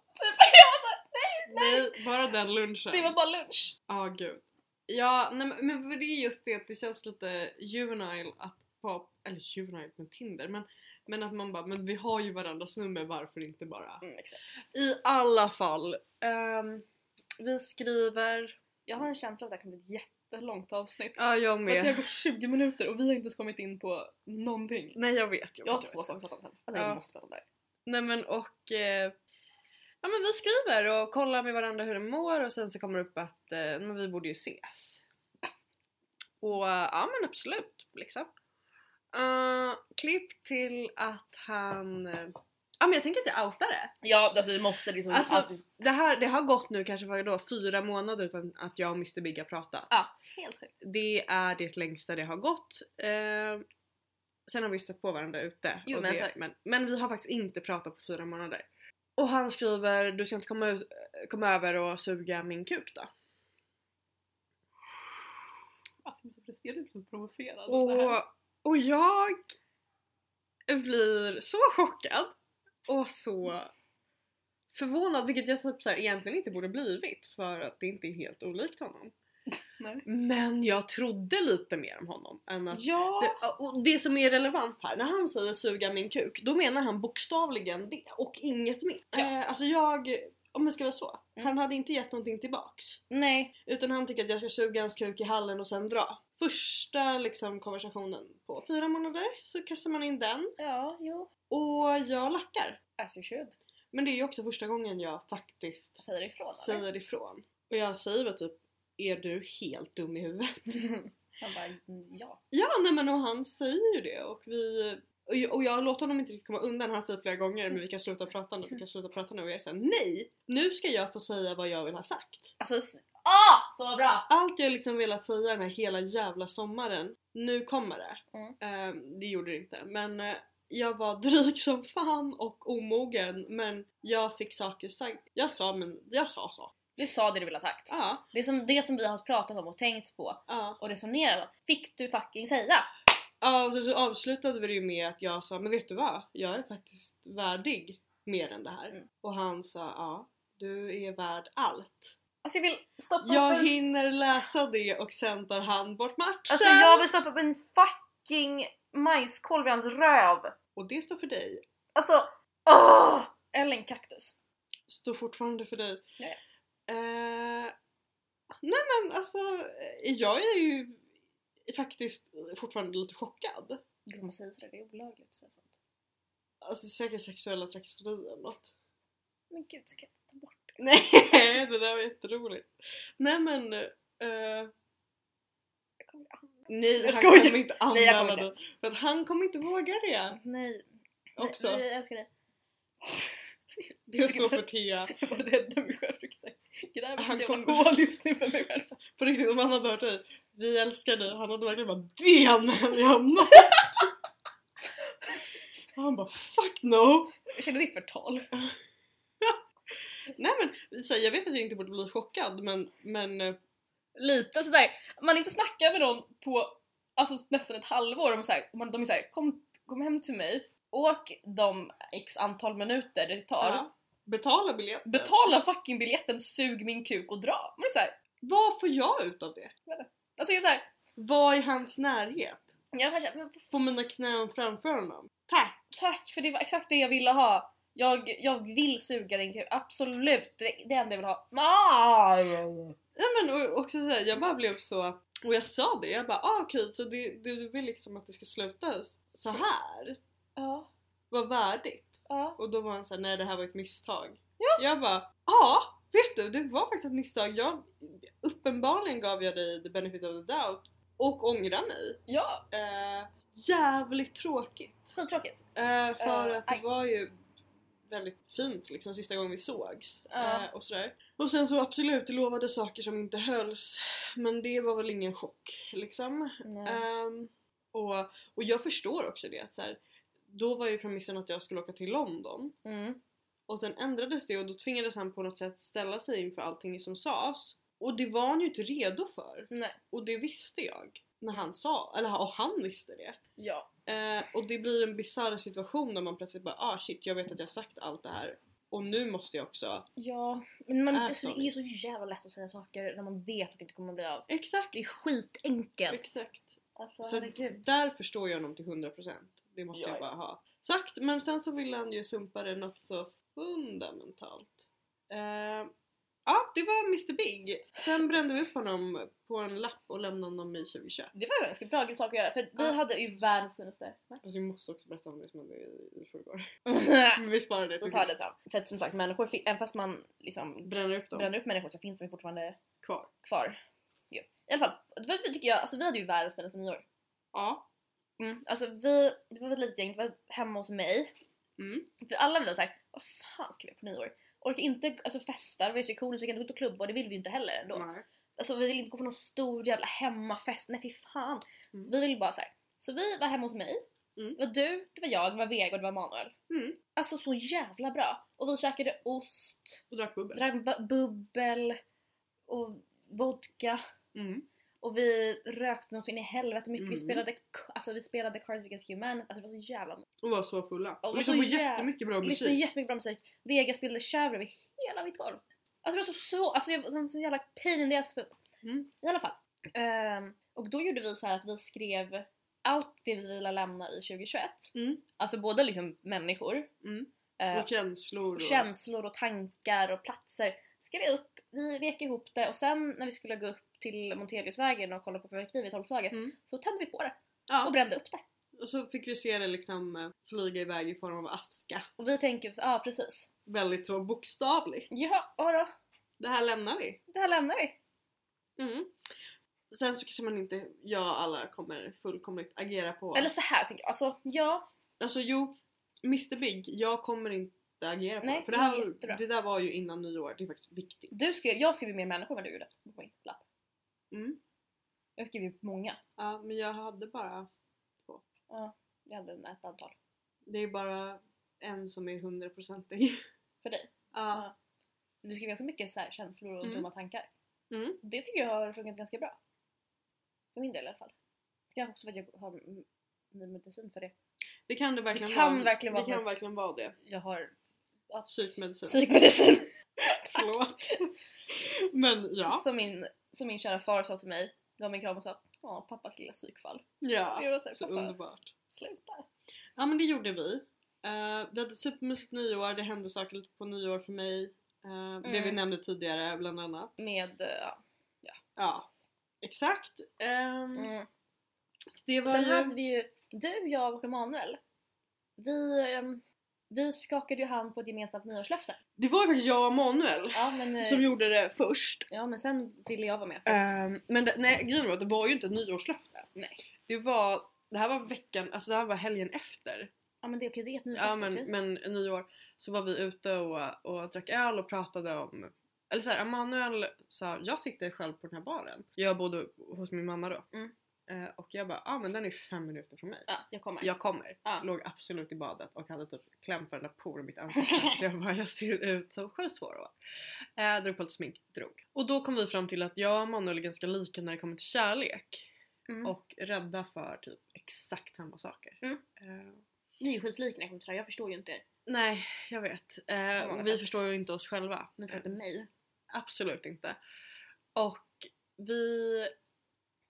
Speaker 1: Nej, bara den lunchen.
Speaker 2: Det var bara lunch.
Speaker 1: Ja, gud. Ja, nej, men- men för det är just det att det känns lite juvenile att vara, eller juvenile med Tinder, men, men att man bara, men vi har ju varandras nummer, varför inte bara?
Speaker 2: Mm, exakt.
Speaker 1: I alla fall. ehm, vi skriver...
Speaker 2: Jag har en känsla av att det här kommer bli ett jättelångt avsnitt.
Speaker 1: Ja, jag
Speaker 2: För att det har
Speaker 1: med.
Speaker 2: gått 20 minuter och vi har inte ens kommit in på någonting.
Speaker 1: Nej, jag vet. Jag,
Speaker 2: Jag har
Speaker 1: vet, jag
Speaker 2: två
Speaker 1: vet.
Speaker 2: saker att prata om sen. Alltså,
Speaker 1: Ja.
Speaker 2: jag måste prata om det här.
Speaker 1: Nej men och... Eh, ja men vi skriver och kollar med varandra hur de mår och sen så kommer det upp att eh, men vi borde ju ses. Och eh, ja men absolut liksom. Eh, klipp till att han... eh, Ja men jag tänker inte outa det.
Speaker 2: Ja, alltså vi måste liksom...
Speaker 1: Alltså, Det, här, det har gått nu kanske vad då, fyra månader utan att jag och Mr Big har pratat.
Speaker 2: helt sjukt.
Speaker 1: Det är det längsta det har gått. Eh, sen har vi stött på varandra ute.
Speaker 2: Jo,
Speaker 1: och
Speaker 2: men
Speaker 1: det,
Speaker 2: alltså-
Speaker 1: men, men vi har faktiskt inte pratat på fyra månader. Och han skriver du ska inte komma, ut, komma över och suga min kuk då.
Speaker 2: Alltså jag blir så frustrerad och så provocerad. av det här.
Speaker 1: Och, och jag blir så chockad och så förvånad vilket jag typ så här egentligen inte borde blivit för att det inte är helt olikt honom.
Speaker 2: Nej.
Speaker 1: Men jag trodde lite mer om honom än att
Speaker 2: Ja!
Speaker 1: Det, och det som är relevant här, när han säger suga min kuk, då menar han bokstavligen det och inget mer.
Speaker 2: Ja.
Speaker 1: Eh, alltså jag, om det ska vara så,
Speaker 2: Mm.
Speaker 1: han hade inte gett någonting tillbaks.
Speaker 2: Nej.
Speaker 1: Utan han tycker att jag ska suga hans kuk i hallen och sen dra. Första liksom konversationen på fyra månader så kastar man in den
Speaker 2: Ja, jo.
Speaker 1: och jag lackar.
Speaker 2: As you should.
Speaker 1: Men det är ju också första gången jag faktiskt
Speaker 2: Jag säger ifrån. eller?
Speaker 1: säger ifrån. Och jag säger väl typ, är du helt dum i huvudet?
Speaker 2: Han bara, "Mm, ja.
Speaker 1: Ja, nej men och han säger ju det och vi... Och jag, och jag låter honom inte riktigt komma undan, han säger flera gånger men vi kan sluta prata nu, vi kan sluta prata nu och jag säger nej! Nu ska jag få säga vad jag vill ha sagt.
Speaker 2: Alltså, s- ah! Så bra!
Speaker 1: Allt jag liksom velat säga den här hela jävla sommaren, nu kommer det.
Speaker 2: Mm.
Speaker 1: Eh, det gjorde det inte men eh, jag var dryg som fan och omogen men jag fick saker sagt. Jag sa men jag sa så.
Speaker 2: Du sa det du ville ha sagt.
Speaker 1: Ja,
Speaker 2: Det, som, det som vi har pratat om och tänkt på
Speaker 1: ja.
Speaker 2: och resonerat om fick du fucking säga.
Speaker 1: Ja, och så, så avslutade vi det ju med att jag sa men vet du vad? Jag är faktiskt värdig mer än det här.
Speaker 2: Mm.
Speaker 1: Och han sa ja, du är värd allt.
Speaker 2: Alltså jag vill stoppa upp
Speaker 1: Jag
Speaker 2: en...
Speaker 1: hinner läsa det och sen tar han bort matchen!
Speaker 2: Alltså jag vill stoppa upp en fucking majskolv i hans röv!
Speaker 1: Och det står för dig.
Speaker 2: Alltså, åh! Eller en kaktus.
Speaker 1: Står fortfarande för dig.
Speaker 2: Ja, ja.
Speaker 1: Eh, nej men alltså, eh, jag är ju faktiskt fortfarande lite chockad.
Speaker 2: Gud man säger sådär, det är olagligt att säga sånt.
Speaker 1: Alltså säkert sexuella trakasserier eller något.
Speaker 2: Men gud, så kan jag inte ta bort det.
Speaker 1: Nej, det där var jätteroligt. Nej men... eh,
Speaker 2: Jag kommer bli arg.
Speaker 1: nej,
Speaker 2: Jag
Speaker 1: han
Speaker 2: skojar.
Speaker 1: kommer inte
Speaker 2: Nej, jag
Speaker 1: anmäla
Speaker 2: kommer
Speaker 1: det.
Speaker 2: inte.
Speaker 1: För att han kommer inte våga det
Speaker 2: Nej, nej,
Speaker 1: också.
Speaker 2: nej, jag älskar dig.
Speaker 1: det står för Thea.
Speaker 2: Jag var rädd om mig själv, fick säga. Gräver
Speaker 1: Han
Speaker 2: ett jävla
Speaker 1: kommer-
Speaker 2: hål just nu för mig själv.
Speaker 1: På riktigt, om han hade hört dig. Vi älskar dig. Han hade verkligen bara det anmäler jag om något." Och Han bara fuck no!
Speaker 2: Jag känner ditt förtal.
Speaker 1: Nej men så här, jag vet att jag inte borde bli chockad men, men eh,
Speaker 2: Lite sådär, man inte snackar med någon på alltså, nästan ett halvår om såhär, man, de är såhär kom, kom hem till mig, åk de x antal minuter det tar,
Speaker 1: ja. betala biljetten.
Speaker 2: betala fucking biljetten, sug min kuk och dra. Man är såhär,
Speaker 1: Vad får jag ut av det?
Speaker 2: alltså jag är såhär,
Speaker 1: Vad är hans närhet?
Speaker 2: jag kanske, men
Speaker 1: Få mina knän framför honom. Tack!
Speaker 2: tack för det var exakt det jag ville ha. Jag, jag vill suga din kuk, absolut, det, det enda jag vill ha. Ah!
Speaker 1: Ja men och också så här, jag bara blev så och jag sa det, jag bara ah, okej så det, det, du vill liksom att det ska sluta så
Speaker 2: Så.
Speaker 1: här?
Speaker 2: Ja,
Speaker 1: Vad värdigt?
Speaker 2: ja.
Speaker 1: Och då var han såhär nej det här var ett misstag. Ja. Jag bara ja vet du det var faktiskt ett misstag. Jag, uppenbarligen gav jag dig the benefit of the doubt och ångrar mig.
Speaker 2: Ja,
Speaker 1: Eh, jävligt tråkigt.
Speaker 2: skittråkigt.
Speaker 1: Eh, för
Speaker 2: Eh,
Speaker 1: att det
Speaker 2: aj.
Speaker 1: var ju väldigt fint liksom sista gången vi sågs.
Speaker 2: Ja.
Speaker 1: Eh, och sådär. Och sen så absolut, det lovade saker som inte hölls. Men det var väl ingen chock liksom.
Speaker 2: Eh,
Speaker 1: Ehm, och, och jag förstår också det att så här, då var ju premissen att jag skulle åka till London.
Speaker 2: Mm.
Speaker 1: Och sen ändrades det och då tvingades han på något sätt ställa sig inför allting som sades. Och det var han ju inte redo för.
Speaker 2: Nej.
Speaker 1: Och det visste jag. När han sa, eller och han visste det.
Speaker 2: Ja.
Speaker 1: Eh, och det blir en bisarr situation när man plötsligt bara ah shit jag vet att jag har sagt allt det här och nu måste jag också.
Speaker 2: Ja, men man,
Speaker 1: Är
Speaker 2: alltså, det
Speaker 1: sorgligt.
Speaker 2: är så jävla lätt att säga saker när man vet att det inte kommer att bli av.
Speaker 1: Exakt!
Speaker 2: Det är skitenkelt.
Speaker 1: Exakt.
Speaker 2: Alltså,
Speaker 1: Så
Speaker 2: herregud.
Speaker 1: där förstår jag honom till 100%. Det måste
Speaker 2: Ja,
Speaker 1: jag
Speaker 2: ja.
Speaker 1: bara ha sagt. Men sen så vill han ju sumpa det något så fundamentalt. Eh, ja det var Mr Big. Sen brände vi upp honom på en lapp och lämnade honom i 2021.
Speaker 2: Det var en ganska bra grej sak att göra för vi
Speaker 1: Ja.
Speaker 2: hade ju världens finaste... Va?
Speaker 1: Fast Alltså, vi måste också berätta om det som hände i, i förrgår. Men vi sparar det
Speaker 2: Vi
Speaker 1: till
Speaker 2: tar det
Speaker 1: sist.
Speaker 2: sen. För att som sagt människor, fin- även fast man liksom
Speaker 1: Bränner upp dem
Speaker 2: bränner upp människor så finns de ju fortfarande
Speaker 1: kvar.
Speaker 2: kvar. Ja. I alla fall, det var, tycker jag, alltså, vi hade ju världens finaste nyår.
Speaker 1: Ja.
Speaker 2: Mm. Alltså vi, det var ett litet gäng, det var hemma hos mig.
Speaker 1: Mm.
Speaker 2: För alla vi var såhär, vad fan ska vi göra på nyår? Orkar inte alltså, festa, det var restriktioner så vi kan inte gå ut och klubba och det vill vi ju inte heller ändå.
Speaker 1: Nej.
Speaker 2: Alltså vi vill inte gå på någon stor jävla hemmafest, nej fy fan.
Speaker 1: Mm.
Speaker 2: Vi vill bara så här. Så vi var hemma hos mig,
Speaker 1: Mm.
Speaker 2: det var du, det var jag, det var Vega och det var Manuel.
Speaker 1: Mm.
Speaker 2: Alltså så jävla bra! Och vi käkade ost,
Speaker 1: Och drack bubbel.
Speaker 2: drack bu- bubbel och vodka.
Speaker 1: Mm.
Speaker 2: Och vi rökte något in i helvete mycket, vi
Speaker 1: Mm.
Speaker 2: spelade k- alltså vi spelade Cards Against Human, alltså det var så jävla
Speaker 1: Och var så fulla. Och
Speaker 2: var
Speaker 1: lyssnade
Speaker 2: så
Speaker 1: på
Speaker 2: jävla-
Speaker 1: jättemycket bra musik.
Speaker 2: Lyssnade jättemycket bra musik, Vega spelade Chèvre över hela mitt golv. Alltså det var så svårt, alltså jag var så jävla pain in the ass för
Speaker 1: Mm.
Speaker 2: I alla fall. Ehm, och då gjorde vi så här att vi skrev allt det vi ville lämna i 2021.
Speaker 1: Mm.
Speaker 2: Alltså både liksom människor,
Speaker 1: Mm.
Speaker 2: eh,
Speaker 1: Och känslor.
Speaker 2: och
Speaker 1: Och...
Speaker 2: känslor och tankar och platser. Skrev vi upp, vi vek ihop det och sen när vi skulle gå upp till Monteliusvägen och kolla på fyrverkeri vid Tolvslaget
Speaker 1: Mm.
Speaker 2: så tände vi på det och
Speaker 1: Ja.
Speaker 2: brände upp det.
Speaker 1: Och så fick vi se det liksom eh, flyga iväg i form av aska.
Speaker 2: Och vi tänker så, ja ah, precis.
Speaker 1: Väldigt så bokstavligt.
Speaker 2: Ja, ja då,
Speaker 1: Det här lämnar vi.
Speaker 2: det här lämnar vi.
Speaker 1: Mm. Sen så kanske man inte, jag och alla kommer fullkomligt agera på...
Speaker 2: Eller så här tänker jag, alltså ja,
Speaker 1: Alltså jo, Mr Big, jag kommer inte agera på
Speaker 2: Nej,
Speaker 1: det. För det,
Speaker 2: det är
Speaker 1: här,
Speaker 2: jättebra.
Speaker 1: det där var ju innan nyår, det är faktiskt viktigt.
Speaker 2: du skrev, jag skrev ju mer människor än du gjorde på min lapp.
Speaker 1: Mm.
Speaker 2: Jag skrev ju många,
Speaker 1: Ja, men jag hade bara...
Speaker 2: jag hade ett antal.
Speaker 1: Det är bara en som är hundraprocentig.
Speaker 2: För dig?
Speaker 1: Ja.
Speaker 2: Du skriver ganska mycket så här känslor och
Speaker 1: Mm.
Speaker 2: dumma tankar.
Speaker 1: Mm.
Speaker 2: Det tycker jag har funkat ganska bra. För min del i alla fall. Det är också för att jag har ny medicin för det.
Speaker 1: Det kan det verkligen
Speaker 2: Det kan
Speaker 1: vara.
Speaker 2: verkligen vara
Speaker 1: det kan
Speaker 2: ett-
Speaker 1: verkligen vara det.
Speaker 2: Jag har
Speaker 1: Psykmedicin.
Speaker 2: psykmedicin.
Speaker 1: Förlåt. Men ja.
Speaker 2: Som, min, som min kära far sa till mig, gav mig en kram och sa Ja, pappas lilla psykfall.
Speaker 1: Ja.
Speaker 2: Jag var såhär,
Speaker 1: Så
Speaker 2: pappa
Speaker 1: underbart.
Speaker 2: sluta.
Speaker 1: Ja men det gjorde vi. Eh, vi hade supermysigt nyår, det hände saker lite på nyår för mig. Eh, Det vi
Speaker 2: Mm.
Speaker 1: nämnde tidigare bland annat.
Speaker 2: Med, eh, ja.
Speaker 1: Ja. Exakt. Ehm,
Speaker 2: Mm.
Speaker 1: så Det var
Speaker 2: Sen
Speaker 1: ju...
Speaker 2: hade vi ju, du, jag och Emanuel. Vi, ehm, vi skakade ju hand på ett gemensamt nyårslöfte.
Speaker 1: Det var väl jag och Manuel
Speaker 2: Ja men, eh,
Speaker 1: som gjorde det först.
Speaker 2: ja men sen ville jag vara med. För att,
Speaker 1: Ehm, men det, nej, grejen var att det var ju inte ett nyårslöfte.
Speaker 2: Nej.
Speaker 1: Det var, det här var veckan, alltså det här var helgen efter.
Speaker 2: ja men det är okej, det är ett nyårslöfte.
Speaker 1: Ja men,
Speaker 2: okej.
Speaker 1: men nyår så var vi ute och, och drack öl och pratade om eller såhär, Emanuel sa jag sitter själv på den här baren. Jag bodde hos min mamma då.
Speaker 2: Mm.
Speaker 1: Eh, och jag bara, ja ah, men den är fem minuter från mig.
Speaker 2: ja, jag kommer.
Speaker 1: Jag kommer.
Speaker 2: Ja.
Speaker 1: Låg absolut i badet och hade typ klämt varenda por i mitt ansikte. så jag bara, jag ser ut som sju svår år. Eh, drog på lite smink, drog. Och då kom vi fram till att jag och Manuel är ganska lika när det kommer till kärlek.
Speaker 2: Mm.
Speaker 1: Och rädda för typ exakt samma saker.
Speaker 2: Mm.
Speaker 1: Eh,
Speaker 2: Ni är ju skitlika när jag kommer till det här, jag förstår ju inte er.
Speaker 1: nej, jag vet. Eh,
Speaker 2: många
Speaker 1: vi
Speaker 2: sätt.
Speaker 1: förstår ju inte oss själva.
Speaker 2: Ni förstår inte mig.
Speaker 1: Absolut inte. Och vi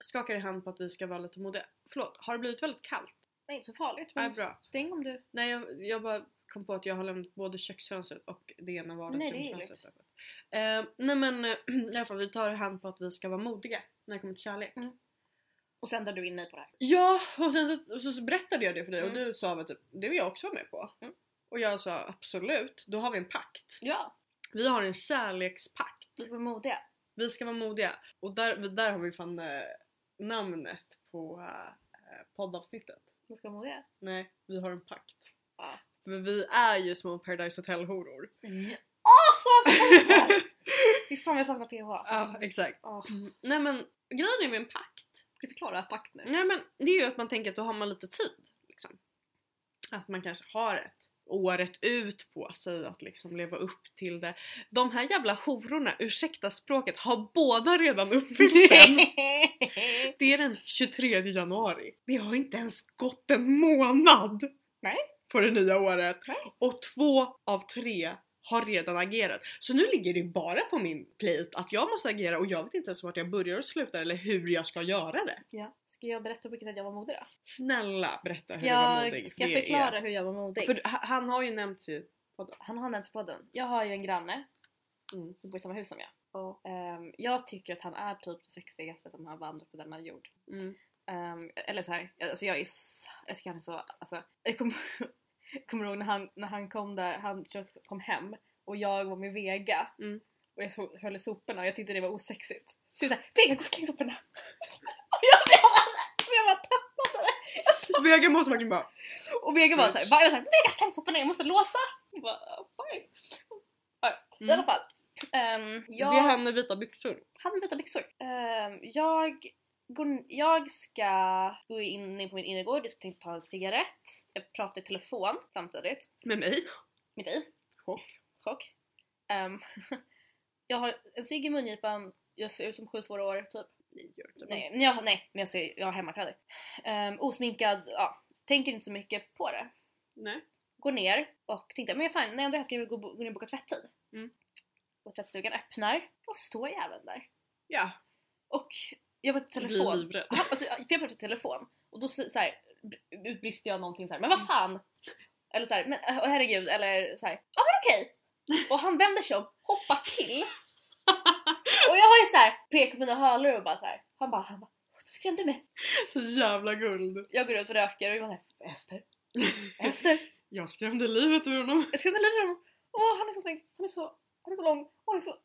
Speaker 1: skakar i hand på att vi ska vara lite modiga. Förlåt, har det blivit väldigt kallt?
Speaker 2: Det är inte så farligt.
Speaker 1: Ja,
Speaker 2: men
Speaker 1: bra.
Speaker 2: Stäng om du...
Speaker 1: Nej jag, jag bara kom på att jag har lämnat både köksfönstret och det ena vardagsrumsfönstret öppet. Eh, nej men eh, i alla fall vi tar i hand på att vi ska vara modiga när det kommer till kärlek.
Speaker 2: Och sen drar du in mig på det här.
Speaker 1: Ja och sen så, och så, så berättade jag det för dig och
Speaker 2: Mm.
Speaker 1: du sa väl typ det vill jag också vara med på.
Speaker 2: Mm.
Speaker 1: Och jag sa absolut, då har vi en pakt.
Speaker 2: Ja,
Speaker 1: Vi har en kärlekspakt.
Speaker 2: vi var modiga.
Speaker 1: Vi ska vara modiga. Och där, där har vi fan eh, namnet på eh, poddavsnittet.
Speaker 2: Vi ska vara modiga.
Speaker 1: Nej, vi har en pakt.
Speaker 2: Ja.
Speaker 1: För vi är ju små Paradise Hotel-horor.
Speaker 2: Ja. Åh, saknar PH! Fy fan vad jag saknar PH alltså.
Speaker 1: Ja, exakt.
Speaker 2: Åh,
Speaker 1: Nej men grejen är med en pakt.
Speaker 2: Ska vi förklara pakt nu?
Speaker 1: Nej men det är ju att man tänker att då har man lite tid. Liksom. Att man kanske har ett året ut på sig att liksom leva upp till det. De här jävla hororna, ursäkta språket, har båda redan uppfyllt den. Det är den 23 januari. Det har inte ens gått en månad
Speaker 2: Nej.
Speaker 1: på det nya året.
Speaker 2: Nej.
Speaker 1: Och två av tre har redan agerat. Så nu ligger det bara på min plate att jag måste agera och jag vet inte ens vart jag börjar och slutar eller hur jag ska göra det.
Speaker 2: ja. Ska jag berätta på vilket sätt jag var modig då?
Speaker 1: Snälla berätta
Speaker 2: Ska
Speaker 1: hur jag var
Speaker 2: jag,
Speaker 1: modig.
Speaker 2: ska jag
Speaker 1: för det
Speaker 2: förklara
Speaker 1: är-
Speaker 2: hur jag var modig?
Speaker 1: För ha- han har ju nämnt ju...
Speaker 2: Han har nämnts i podden. Jag har ju en granne
Speaker 1: Mm.
Speaker 2: som bor i samma hus som jag. Och, ehm, jag tycker att han är typ det sexigaste som har vandrat på denna jord.
Speaker 1: Mm.
Speaker 2: Ehm, eller så här, alltså jag är s- jag tycker han är så, alltså, jag kommer, jag kommer ihåg när han, när han kom där, han just kom hem och jag var med Vega
Speaker 1: Mm.
Speaker 2: och jag så, höll i soporna och jag tyckte det var osexigt. Så jag såhär, Vega gå och släng soporna! och jag, jag, jag, jag bara tappade det!
Speaker 1: Vega måste verkligen bara...
Speaker 2: Och Vega var såhär, va? jag var såhär, Vega släng soporna jag måste låsa! Jag bara, "Ah, fine. I alla
Speaker 1: Mm.
Speaker 2: fall. ehm, jag,
Speaker 1: Det är han med vita byxor.
Speaker 2: han med vita byxor. Ehm, jag, går, jag ska gå in på min innergård, jag tänkte ta en cigarett. Jag pratar i telefon samtidigt
Speaker 1: Med mig.
Speaker 2: med dig.
Speaker 1: Chock.
Speaker 2: Chock. Ehm, jag har en cigg i mungipan, jag ser ut som sju svåra år typ.
Speaker 1: Nej, gör inte det.
Speaker 2: Nej, men jag, nej men jag, ser, jag har hemmakläder. Ehm, osminkad, ja. Tänker inte så mycket på det.
Speaker 1: Nej.
Speaker 2: Går ner och tänkte men fan, när jag ändå är här ska jag gå, gå ner och boka tvättid.
Speaker 1: Mm.
Speaker 2: Och tvättstugan öppnar och står jäveln där.
Speaker 1: Ja.
Speaker 2: Och jag pratar i
Speaker 1: Blir
Speaker 2: telefon.
Speaker 1: livrädd.
Speaker 2: Ja, alltså, jag- för jag pratade i telefon och då så så här, utbrister jag någonting så här,
Speaker 1: Mm.
Speaker 2: men vad fan? Eller så här, men åh, herregud eller så här, ja men okej. Och han vänder sig om, hoppar till. Och jag har ju så här, pekar på mina hörlurar och bara så här. Han bara, han bara, du skrämde mig.
Speaker 1: Så jävla guld.
Speaker 2: Jag går ut och röker och jag bara så här, Ester, Ester,
Speaker 1: Jag skrämde livet ur honom.
Speaker 2: jag skrämde livet ur honom. Åh han är så snygg, han är så, han är så lång, åh han är så...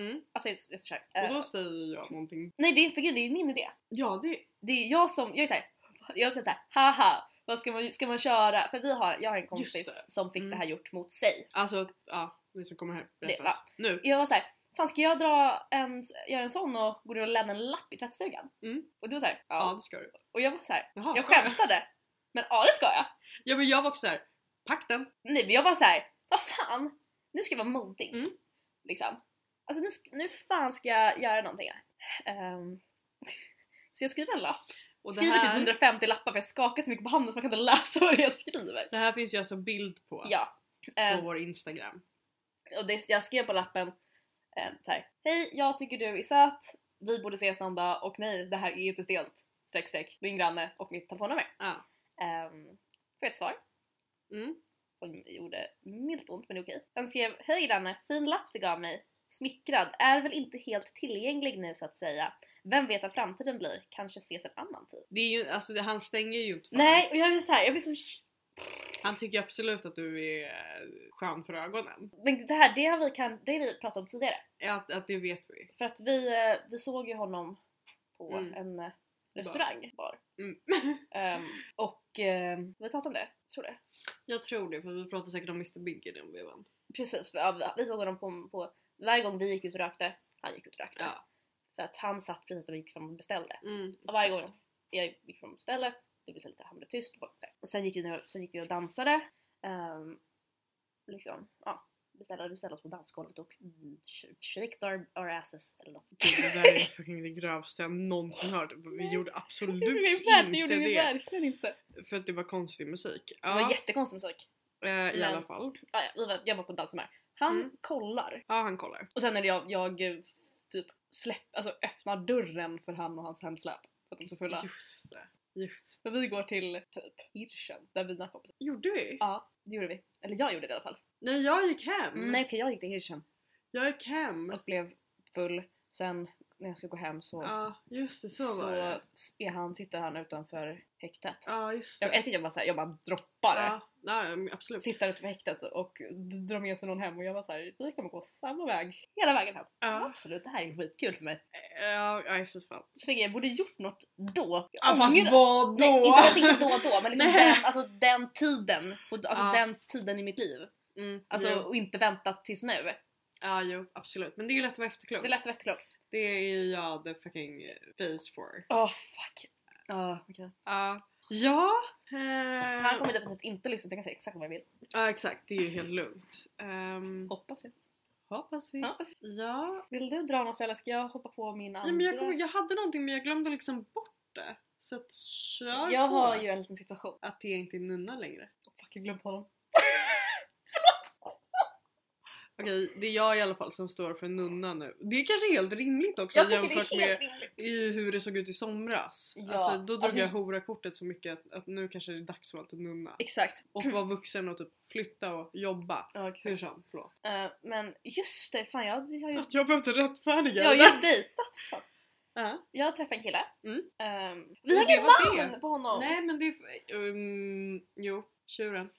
Speaker 1: Mm.
Speaker 2: Alltså jag är så- jag är så kär.
Speaker 1: Och
Speaker 2: Eh,
Speaker 1: då säger jag någonting.
Speaker 2: Nej det är, för grejen, det är min idé.
Speaker 1: Ja det
Speaker 2: det är jag som, jag är såhär, jag säger såhär haha, vad ska man, ska man köra? För vi har, jag har en kompis
Speaker 1: Just
Speaker 2: som fick
Speaker 1: Mm.
Speaker 2: det här gjort mot sig.
Speaker 1: Alltså ja, ni som kommer här berättas.
Speaker 2: Det- ja.
Speaker 1: Nu.
Speaker 2: Jag var såhär, fan ska jag dra en, göra en sån och gå ner och lämna en lapp i tvättstugan?
Speaker 1: Mm.
Speaker 2: Och du var såhär,
Speaker 1: Ja
Speaker 2: ja.
Speaker 1: det ska du.
Speaker 2: Och jag var såhär,
Speaker 1: Jaha,
Speaker 2: jag
Speaker 1: ska du?
Speaker 2: skämtade. Men ja det ska jag.
Speaker 1: Ja men jag var också såhär, pakten.
Speaker 2: Nej men jag var såhär, vad fan, nu ska jag vara modig.
Speaker 1: Mm.
Speaker 2: Liksom. Alltså nu, sk- nu fan ska jag göra någonting här. Ehm, så jag skriver en lapp.
Speaker 1: Och det
Speaker 2: Skriver typ
Speaker 1: här,
Speaker 2: 150 lappar för jag skakar så mycket på handen så man kan inte läsa vad det är jag skriver.
Speaker 1: det här finns ju alltså bild på
Speaker 2: Ja.
Speaker 1: på
Speaker 2: Eh,
Speaker 1: vår Instagram.
Speaker 2: och det, jag skrev på lappen eh, så här. Hej, jag tycker du är söt. Vi borde ses någon dag och nej, det här är inte stelt. Streck, streck. Din granne och mitt telefonnummer.
Speaker 1: Ja.
Speaker 2: Ehm, får jag ett svar
Speaker 1: Mm.
Speaker 2: som gjorde milt ont men det är okej. Han skrev Hej granne, fin lapp du gav mig. Smickrad, är väl inte helt tillgänglig nu så att säga. Vem vet vad framtiden blir? Kanske ses en annan tid.
Speaker 1: Det är ju, alltså, det- han stänger ju inte för
Speaker 2: Nej, och jag blir såhär, jag blir så
Speaker 1: dig. Han tycker absolut att du är eh, skön för ögonen.
Speaker 2: Men det här, det har vi, kan, det har vi pratat om tidigare.
Speaker 1: Att, att det vet vi.
Speaker 2: För att vi, eh, vi såg ju honom på
Speaker 1: Mm.
Speaker 2: en eh, restaurang, bar.
Speaker 1: Mm.
Speaker 2: Ehm, och eh, vi pratade om det, tror det.
Speaker 1: Jag tror det för vi pratade säkert om Mr Big i den vevan.
Speaker 2: Precis, för, ja, vi- vi såg honom på, på varje gång vi gick ut och rökte, han gick ut och rökte.
Speaker 1: Ja.
Speaker 2: För att han satt precis där vi gick fram och beställde.
Speaker 1: Mm.
Speaker 2: Och varje gång jag gick fram och beställde, det blev så lite, han blev tyst och borta. Och sen gick vi, ner- sen gick vi och dansade. Um, liksom, ja. Beställde, beställde oss på dansgolvet och mm, sh- shaked our, our asses eller något.
Speaker 1: Gud, Det där är fucking det grövsta jag någonsin hört. Vi gjorde absolut
Speaker 2: Det gjorde vi
Speaker 1: inte
Speaker 2: ver- det gjorde vi
Speaker 1: det.
Speaker 2: verkligen inte.
Speaker 1: För att det var konstig musik.
Speaker 2: Det var
Speaker 1: Ja,
Speaker 2: jättekonstig musik.
Speaker 1: eh, I
Speaker 2: men-
Speaker 1: alla fall.
Speaker 2: Ah, ja, vi var, jag var på en dansmär. Han
Speaker 1: Mm.
Speaker 2: kollar.
Speaker 1: Ja han kollar.
Speaker 2: Och sen när jag, jag eh, typ släpp, alltså öppnar dörren för han och hans hemsläp. För att de är så fulla.
Speaker 1: Just det. Just
Speaker 2: Men vi går till typ Hirschen, där vi kompisar.
Speaker 1: det. Gjorde vi?
Speaker 2: Ja, det gjorde vi. Eller jag gjorde det i alla fall.
Speaker 1: Mm. Nej jag gick hem.
Speaker 2: Nej okej, jag gick till Hirschen
Speaker 1: Jag gick hem.
Speaker 2: och blev full. Sen när jag ska gå hem så,
Speaker 1: Ja just det så,
Speaker 2: så,
Speaker 1: var det.
Speaker 2: är han, sitter han utanför häktet.
Speaker 1: Ja just det.
Speaker 2: Jag, jag, jag bara, så här, jag bara droppar det.
Speaker 1: Ja, ja men absolut.
Speaker 2: sitter utanför häktet och d- drar med sig någon hem och jag var så här, vi kommer gå samma väg hela vägen hem.
Speaker 1: Ja.
Speaker 2: Absolut, det här är skitkul för mig.
Speaker 1: Ja, nej fy fan.
Speaker 2: Jag tänker jag borde gjort något då. Jag
Speaker 1: Ja, fast
Speaker 2: ångrar-
Speaker 1: vad
Speaker 2: Nej,
Speaker 1: då?
Speaker 2: inte, alltså, inte då och då men liksom
Speaker 1: Nej.
Speaker 2: den, alltså, den tiden. på- Alltså
Speaker 1: Ja.
Speaker 2: den tiden i mitt liv.
Speaker 1: Mm,
Speaker 2: Alltså
Speaker 1: jo.
Speaker 2: och inte väntat tills nu.
Speaker 1: Ja jo absolut. Men det är ju lätt att vara
Speaker 2: Det
Speaker 1: efterklok.
Speaker 2: är lätt att vara efterklok.
Speaker 1: Det är ju jag the fucking face for.
Speaker 2: Åh fuck. Ja, okej.
Speaker 1: Ja. Ja. eh,
Speaker 2: Han kommer definitivt inte lyssna så jag kan säga exakt vad jag vill.
Speaker 1: ja exakt, det är ju helt lugnt. Ehm,
Speaker 2: Hoppas jag.
Speaker 1: hoppas vi.
Speaker 2: Ja.
Speaker 1: Ja.
Speaker 2: Vill du dra något eller ska jag hoppa på min andra?
Speaker 1: ja men jag, kommer, jag hade någonting men jag glömde liksom bort det. Så att kör
Speaker 2: jag
Speaker 1: på.
Speaker 2: har ju en liten situation.
Speaker 1: Att det inte är nunna längre.
Speaker 2: Fuck jag glömde honom.
Speaker 1: Okej, det är jag i alla fall som står för nunna nu. Det är kanske helt rimligt också
Speaker 2: Jag tycker det är helt rimligt.
Speaker 1: i hur det såg ut i somras.
Speaker 2: Ja,
Speaker 1: Alltså, då drog
Speaker 2: alltså-
Speaker 1: jag horakortet så mycket att, att nu kanske det är dags för att nunna.
Speaker 2: Exakt.
Speaker 1: Och vara vuxen och typ flytta och jobba.
Speaker 2: Ja,
Speaker 1: Hur
Speaker 2: exakt.
Speaker 1: som, förlåt.
Speaker 2: Eh, men just det, fan jag, jag, har ju-
Speaker 1: Att jag behövde rättfärdiga
Speaker 2: Mm. jag har
Speaker 1: det.
Speaker 2: ju dejtat fan.
Speaker 1: Ja.
Speaker 2: Jag träffade en kille.
Speaker 1: Mm.
Speaker 2: Ehm,
Speaker 1: Det
Speaker 2: vi har inget
Speaker 1: var
Speaker 2: namn på honom!
Speaker 1: Nej men det... Um, jo, tjuren.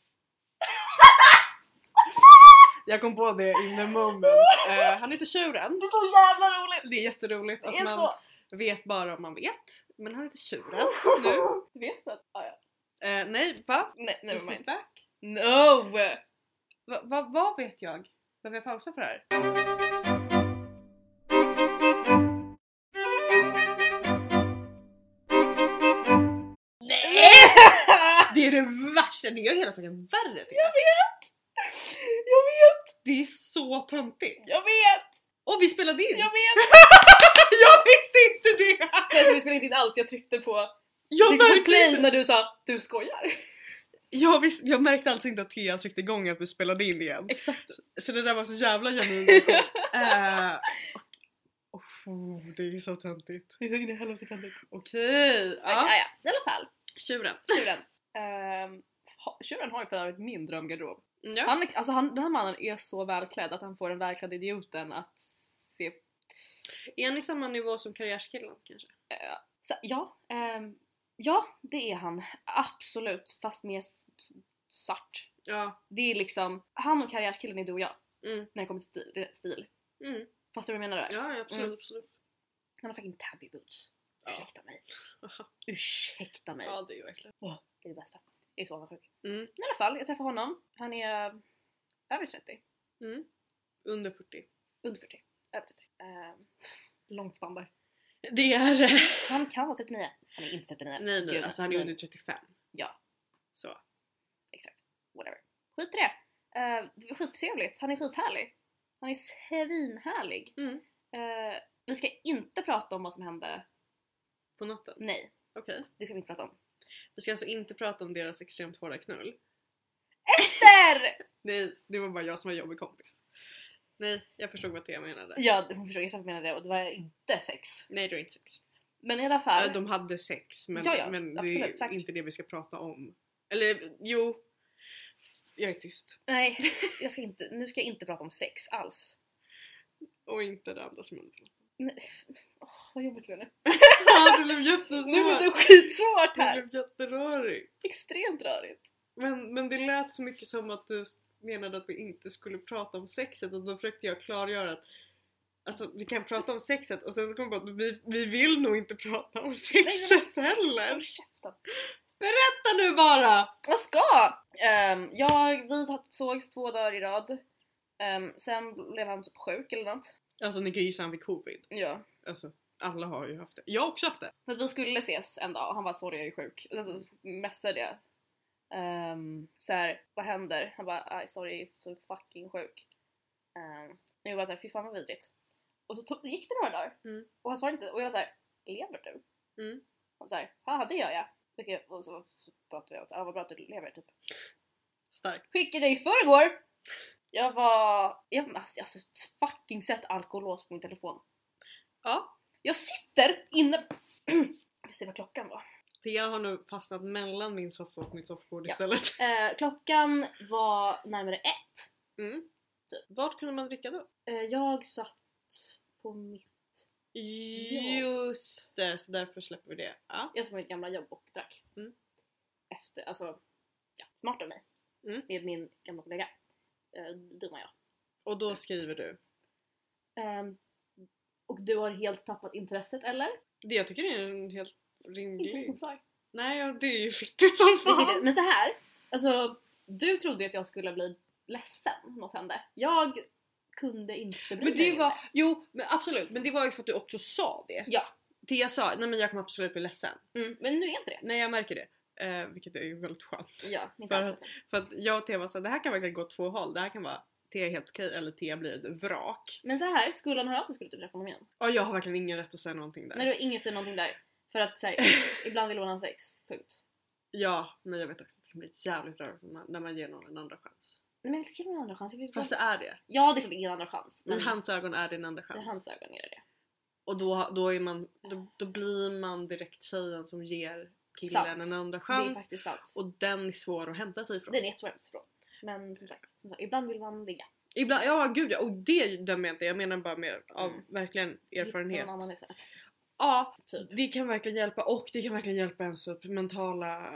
Speaker 1: jag kom på det in the moment. Eh, han heter tjuren.
Speaker 2: Det är så jävla roligt!
Speaker 1: Det är jätteroligt
Speaker 2: Det
Speaker 1: att
Speaker 2: är
Speaker 1: man
Speaker 2: så...
Speaker 1: vet bara om man vet. Men han heter tjuren nu.
Speaker 2: Du vet att... Ah, ja.
Speaker 1: Eh, nej, va?
Speaker 2: Nej,
Speaker 1: Is
Speaker 2: never
Speaker 1: it
Speaker 2: mind.
Speaker 1: back?
Speaker 2: No!
Speaker 1: Va, va, vad vet jag? Behöver jag pausa för det här?
Speaker 2: Nej!
Speaker 1: Det är det värsta, det gör hela saken värre tycker jag.
Speaker 2: Jag vet,
Speaker 1: Det är så töntigt.
Speaker 2: jag vet,
Speaker 1: Och vi spelade in!
Speaker 2: jag vet!
Speaker 1: Jag visste inte det!
Speaker 2: Jag spelade inte in allt, jag tryckte på,
Speaker 1: Jag
Speaker 2: tryckte på
Speaker 1: märkte,
Speaker 2: play
Speaker 1: inte-
Speaker 2: när du sa du skojar.
Speaker 1: jag, visste, jag märkte alltså inte att Thea tryckte igång att vi spelade in igen.
Speaker 2: Exakt.
Speaker 1: Så det där var så jävla genuint. uh, oh, det är så töntigt.
Speaker 2: Det är helvete töntigt.
Speaker 1: Okej, äh,
Speaker 2: Ja.
Speaker 1: ja.
Speaker 2: ja, i alla fall.
Speaker 1: Tjuren.
Speaker 2: Tjuren. Ehm, ha- Tjuren har ju för övrigt min drömgarderob.
Speaker 1: Ja.
Speaker 2: Han, alltså han, den här mannen är så välklädd att han får den välklädda idioten att se...
Speaker 1: Är ni samma nivå som karriärskillen kanske?
Speaker 2: Så, ja, ehm, ja, det är han. Absolut. Fast mer s- svart.
Speaker 1: Ja.
Speaker 2: Det är liksom, han och karriärskillen är du och jag.
Speaker 1: Mm.
Speaker 2: När det kommer till stil. stil.
Speaker 1: Mm.
Speaker 2: Fattar du vad jag menar? där?
Speaker 1: Ja absolut.
Speaker 2: Mm.
Speaker 1: absolut.
Speaker 2: Han har fucking tabby boots.
Speaker 1: Ja.
Speaker 2: Ursäkta mig.
Speaker 1: Aha.
Speaker 2: Ursäkta mig.
Speaker 1: Ja det är ju verkligen.
Speaker 2: Det är det bästa. Jag är så avundsjuk.
Speaker 1: Mm.
Speaker 2: I alla fall, jag träffar honom. Han är eh, över 30.
Speaker 1: Mm. Under 40.
Speaker 2: Under 40. Över 30. Ehm, långt spann där.
Speaker 1: Det är...
Speaker 2: Han kan vara 39. Han är inte 39.
Speaker 1: Nej nej,
Speaker 2: Gud,
Speaker 1: alltså han är
Speaker 2: nej.
Speaker 1: under 35.
Speaker 2: Ja.
Speaker 1: Så.
Speaker 2: Exakt. Whatever. Skit i det. Eh, det var skittrevligt. Han är skithärlig. Han är svinhärlig.
Speaker 1: Mm.
Speaker 2: Eh, vi ska inte prata om vad som hände.
Speaker 1: På natten?
Speaker 2: Nej.
Speaker 1: Okej.
Speaker 2: Det ska vi inte prata om.
Speaker 1: Vi ska alltså inte prata om deras extremt hårda knull.
Speaker 2: Ester!
Speaker 1: Nej, det var bara jag som var jobbig kompis. Nej, jag förstod vad Thea menade.
Speaker 2: Ja, hon förstod exakt vad jag menade och det var inte sex.
Speaker 1: Nej, det var inte sex.
Speaker 2: Men i alla
Speaker 1: Ja,
Speaker 2: fall.
Speaker 1: de hade sex men,
Speaker 2: Ja, ja,
Speaker 1: men det är
Speaker 2: absolut, säkert.
Speaker 1: inte det vi ska prata om. Eller jo. Jag är tyst.
Speaker 2: Nej, jag ska inte, nu ska jag inte prata om sex alls.
Speaker 1: Och inte det andra som hände.
Speaker 2: Men, åh, vad jobbigt det blev nu.
Speaker 1: Ja, det blev
Speaker 2: Nu blev det
Speaker 1: jättesvårt.
Speaker 2: skitsvårt
Speaker 1: Det
Speaker 2: här.
Speaker 1: blev jätterörigt.
Speaker 2: Extremt rörigt.
Speaker 1: Men, men det lät så mycket som att du menade att vi inte skulle prata om sexet och då försökte jag klargöra att Alltså vi kan prata om sexet och sen så kom jag på att vi, vi vill nog inte prata om sexet heller.
Speaker 2: Håll käften.
Speaker 1: Vänta nu bara!
Speaker 2: Jag ska! Ehm, jag, vi sågs två dagar i rad. Ehm, sen blev han typ sjuk eller något.
Speaker 1: Alltså ni kan gissa han fick covid.
Speaker 2: Ja.
Speaker 1: Alltså alla har ju haft det. Jag har också haft det.
Speaker 2: För att vi skulle ses en dag och han var sorry jag är sjuk. Alltså, Eller så messade jag. Um, så här, vad händer? Han bara aj sorry jag är så fucking sjuk. Um, jag var såhär fy fan vad vidrigt. Och så tog, gick det några dagar
Speaker 1: Mm.
Speaker 2: och han svarade inte och jag var såhär lever du?
Speaker 1: Mm.
Speaker 2: Och såhär haha det gör jag. Okej, Och så pratade vi om att ah, vad bra att du lever typ.
Speaker 1: Starkt.
Speaker 2: Skickade jag i förrgår! Jag var, jag har alltså, alltså, fucking sett alkoholås på min telefon.
Speaker 1: Ja.
Speaker 2: Jag sitter inne, jag ser vad klockan var.
Speaker 1: Thea har nu fastnat mellan min soffa och mitt soffbord
Speaker 2: Ja.
Speaker 1: istället.
Speaker 2: Eh, klockan var närmare ett.
Speaker 1: Mm. Vart kunde man dricka då?
Speaker 2: Eh, jag satt på mitt,
Speaker 1: Just det, så därför släpper vi det. Ja.
Speaker 2: jag satt på mitt gamla jobb och drack.
Speaker 1: Mm.
Speaker 2: Efter, alltså, ja, smart av mig.
Speaker 1: Mm.
Speaker 2: Med min gamla kollega. Eh, dumma jag.
Speaker 1: Och då skriver du.
Speaker 2: Ehm, och du har helt tappat intresset eller?
Speaker 1: Det jag tycker är en helt
Speaker 2: Inte
Speaker 1: rimlig...
Speaker 2: en sak.
Speaker 1: Nej, ja, det är ju riktigt som
Speaker 2: Vi tyckte-
Speaker 1: fan.
Speaker 2: Men så här, alltså du trodde ju att jag skulle bli ledsen om något hände. Jag kunde inte bli
Speaker 1: Men det
Speaker 2: längre.
Speaker 1: var, jo men absolut, men det var ju för att du också sa det.
Speaker 2: Ja.
Speaker 1: Thea sa nej men jag kommer absolut bli ledsen.
Speaker 2: Mm, men nu är jag inte det.
Speaker 1: Nej jag märker det. Eh, vilket är ju väldigt skönt.
Speaker 2: Ja, inte
Speaker 1: För-
Speaker 2: alls ledsen.
Speaker 1: För att jag och Thea var såhär, det här kan verkligen gå två håll. Det här kan vara Thea är helt okej eller Thea blir ett vrak.
Speaker 2: Men så här, skulle han höra av sig skulle du typ träffa honom igen.
Speaker 1: Ja jag har verkligen ingen rätt att säga någonting där.
Speaker 2: Nej det var inget eller någonting där. För att såhär, ibland vill man ha sex. Punkt.
Speaker 1: Ja men jag vet också att det kan bli jävligt rörigt när man, när man ger någon en andra chans.
Speaker 2: Nej, men jag ska ge mig en andra chans. Jag vill
Speaker 1: Fast det
Speaker 2: bara...
Speaker 1: är det.
Speaker 2: Ja det är klart det är en andra chans.
Speaker 1: I hans ögon är det en andra
Speaker 2: i
Speaker 1: chans.
Speaker 2: hans ögon är Mm. det det.
Speaker 1: Och då, då, är man, då, då blir man direkt tjejen som ger killen
Speaker 2: Sant.
Speaker 1: en andra
Speaker 2: Det är
Speaker 1: chans.
Speaker 2: faktiskt sant.
Speaker 1: Och den är svår att hämta sig ifrån.
Speaker 2: Den är jättesvår att förstå. Men som sagt, som sagt, ibland vill man ligga.
Speaker 1: Ibland, ja gud ja, och det dömer jag inte. Jag menar bara mer av
Speaker 2: Mm.
Speaker 1: verkligen
Speaker 2: Hitta
Speaker 1: erfarenhet.
Speaker 2: någon annan istället.
Speaker 1: Ja,
Speaker 2: Typ.
Speaker 1: det kan verkligen hjälpa och det kan verkligen hjälpa ens typ mentala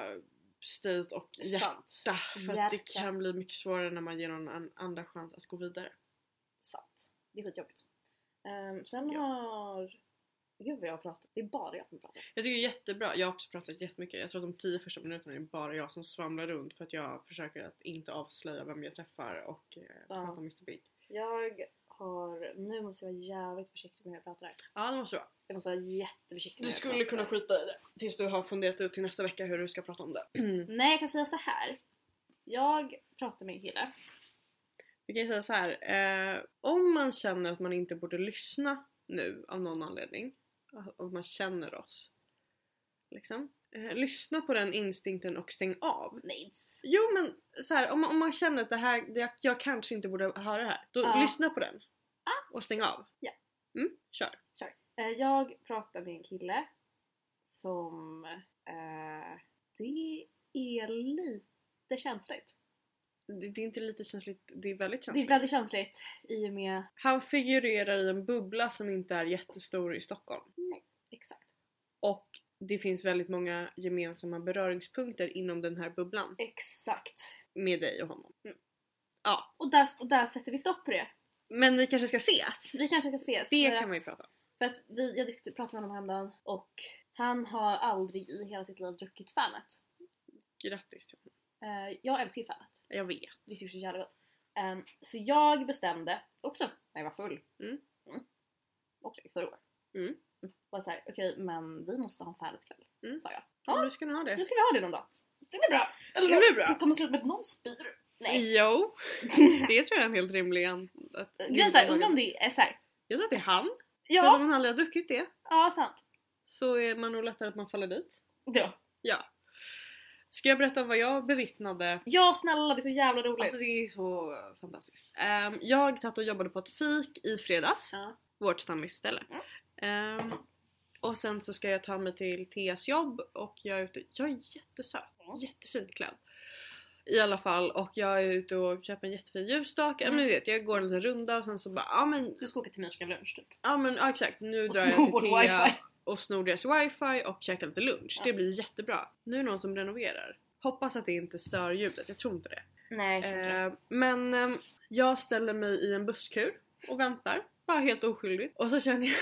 Speaker 1: state och hjärta.
Speaker 2: Sant.
Speaker 1: För att
Speaker 2: Hjärta.
Speaker 1: det kan bli mycket svårare när man ger någon en andra chans att gå vidare.
Speaker 2: Sant. Det är skitjobbigt. Um, sen
Speaker 1: Ja.
Speaker 2: har... Gud vad jag har pratat. Det är bara jag som har pratat.
Speaker 1: Jag tycker det är jättebra, jag har också pratat jättemycket. Jag tror att de tio första minuterna är det bara jag som svamlar runt för att jag försöker att inte avslöja vem jag träffar och eh, prata om Mr Big.
Speaker 2: Jag har... Nu måste jag vara jävligt försiktig med hur jag pratar här.
Speaker 1: Ja det måste vara.
Speaker 2: Jag måste vara jätteförsiktig med
Speaker 1: Du
Speaker 2: hur jag
Speaker 1: skulle
Speaker 2: pratar.
Speaker 1: kunna skita i det tills du har funderat ut till nästa vecka hur du ska prata om det.
Speaker 2: Nej, jag kan säga så här. Jag pratar med en kille.
Speaker 1: Vi kan ju säga så här. Eh, om man känner att man inte borde lyssna nu av någon anledning. Om man känner oss. Liksom. Eh, lyssna på den instinkten och stäng av.
Speaker 2: Nej.
Speaker 1: Jo men så här, om, man- om man känner att det här, det, jag, jag kanske inte borde höra det här. Då
Speaker 2: Ja.
Speaker 1: lyssna på den. Och stäng av.
Speaker 2: Ja.
Speaker 1: Mm, kör.
Speaker 2: Eh, Jag pratar med en kille som... Eh, det är lite känsligt.
Speaker 1: Det, det är inte lite känsligt, det är väldigt
Speaker 2: Det
Speaker 1: känsligt.
Speaker 2: är väldigt känsligt i och med...
Speaker 1: Han figurerar i en bubbla som inte är jättestor i Stockholm.
Speaker 2: Exakt.
Speaker 1: Och det finns väldigt många gemensamma beröringspunkter inom den här bubblan.
Speaker 2: Exakt.
Speaker 1: Med dig och honom.
Speaker 2: Och där, och där sätter vi stopp på det.
Speaker 1: Men ni kanske ska ses?
Speaker 2: Vi kanske ska ses.
Speaker 1: Det
Speaker 2: för
Speaker 1: kan man ju
Speaker 2: att-
Speaker 1: prata om.
Speaker 2: För att vi, jag diskuterade- pratade med honom häromdagen och han har aldrig i hela sitt liv druckit Fanet.
Speaker 1: Grattis till honom.
Speaker 2: Eh, jag älskar ju Fanet.
Speaker 1: Jag vet.
Speaker 2: Det tycker jag är så jävla gott. Ehm, så jag bestämde också när jag var full.
Speaker 1: Mm.
Speaker 2: Mm. Också i förra året.
Speaker 1: Mm.
Speaker 2: Var såhär, okej men vi måste ha en Fanet kväll.
Speaker 1: Mm.
Speaker 2: Sa jag.
Speaker 1: Ja. Nu ska ni ha
Speaker 2: Nu
Speaker 1: det.
Speaker 2: ska vi ha det någon dag. Det blir bra!
Speaker 1: Det blir bra.
Speaker 2: Det kommer sluta med att någon spyr. Nej.
Speaker 1: Jo, det tror jag är en helt rimlig an- att-
Speaker 2: Eh, Grejen är såhär, undrar om det är såhär.
Speaker 1: Jag tror att det är han. För om
Speaker 2: Ja,
Speaker 1: man aldrig har druckit det
Speaker 2: ja sant.
Speaker 1: så är man nog lättare att man faller dit.
Speaker 2: Ja.
Speaker 1: Ska jag berätta om vad jag bevittnade?
Speaker 2: ja, snälla det är så jävla roligt.
Speaker 1: Alltså det är ju så fantastiskt. Ehm, jag satt och jobbade på ett fik i fredags,
Speaker 2: ja.
Speaker 1: vårt stammisställe. Ehm, och sen så ska jag ta mig till Theas jobb och jag är ute, jag är jättesöt,
Speaker 2: Ja.
Speaker 1: jättefint klädd. I alla fall och jag är ute och köper en jättefin ljusstake, ja men du vet jag går en liten runda och sen så bara ja men
Speaker 2: Du ska åka till Myrska lunch typ.
Speaker 1: Ja men ja, exakt, nu
Speaker 2: Och
Speaker 1: drar
Speaker 2: snor
Speaker 1: jag
Speaker 2: vårt
Speaker 1: till Thea
Speaker 2: wifi.
Speaker 1: och snor deras wifi och käkar lite lunch.
Speaker 2: Ja.
Speaker 1: Det blir jättebra. Nu är det någon som renoverar. Hoppas att det inte stör ljudet, jag tror inte det.
Speaker 2: Nej,
Speaker 1: Eh, men ehm, jag ställer mig i en busskur och väntar. Bara helt oskyldigt. Och så känner jag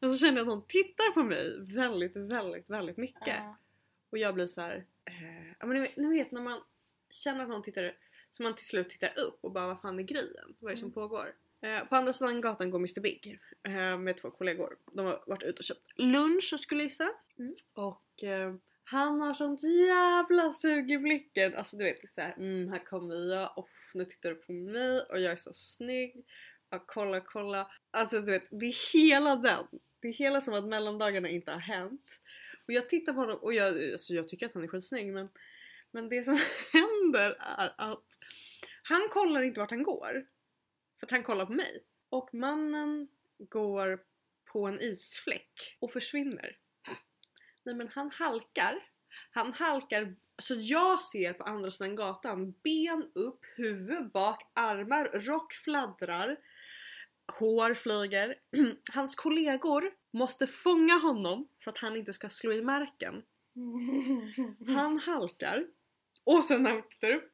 Speaker 1: och så känner jag att någon tittar på mig väldigt, väldigt, väldigt mycket. Och jag blir så här. Eh, ja, men ni, vet, ni vet när man känner att någon tittar så man till slut tittar upp och bara vad fan är grejen? Vad är det som
Speaker 2: Mm.
Speaker 1: pågår? Eh, på andra sidan gatan går Mr Big eh, med två kollegor. De har varit ute och köpt lunch skulle jag gissa.
Speaker 2: Mm.
Speaker 1: Och eh, han har sånt jävla sug i blicken. Alltså du vet det är så här, mm, här kommer jag, off, nu tittar du på mig och jag är så snygg. Ja, kolla, kolla. Alltså du vet, det är hela den. Det är hela som att mellandagarna inte har hänt. Och jag tittar på honom och jag, alltså, jag tycker att han är skitsnygg men, men det som händer är att han kollar inte vart han går. För att han kollar på mig. Och mannen går på en isfläck och försvinner. Nej men han halkar. Han halkar, så jag ser på andra sidan gatan ben upp, huvud bak, armar, rock fladdrar, hår flyger. Hans kollegor måste fånga honom för att han inte ska slå i marken. Han halkar och sen när han tittar upp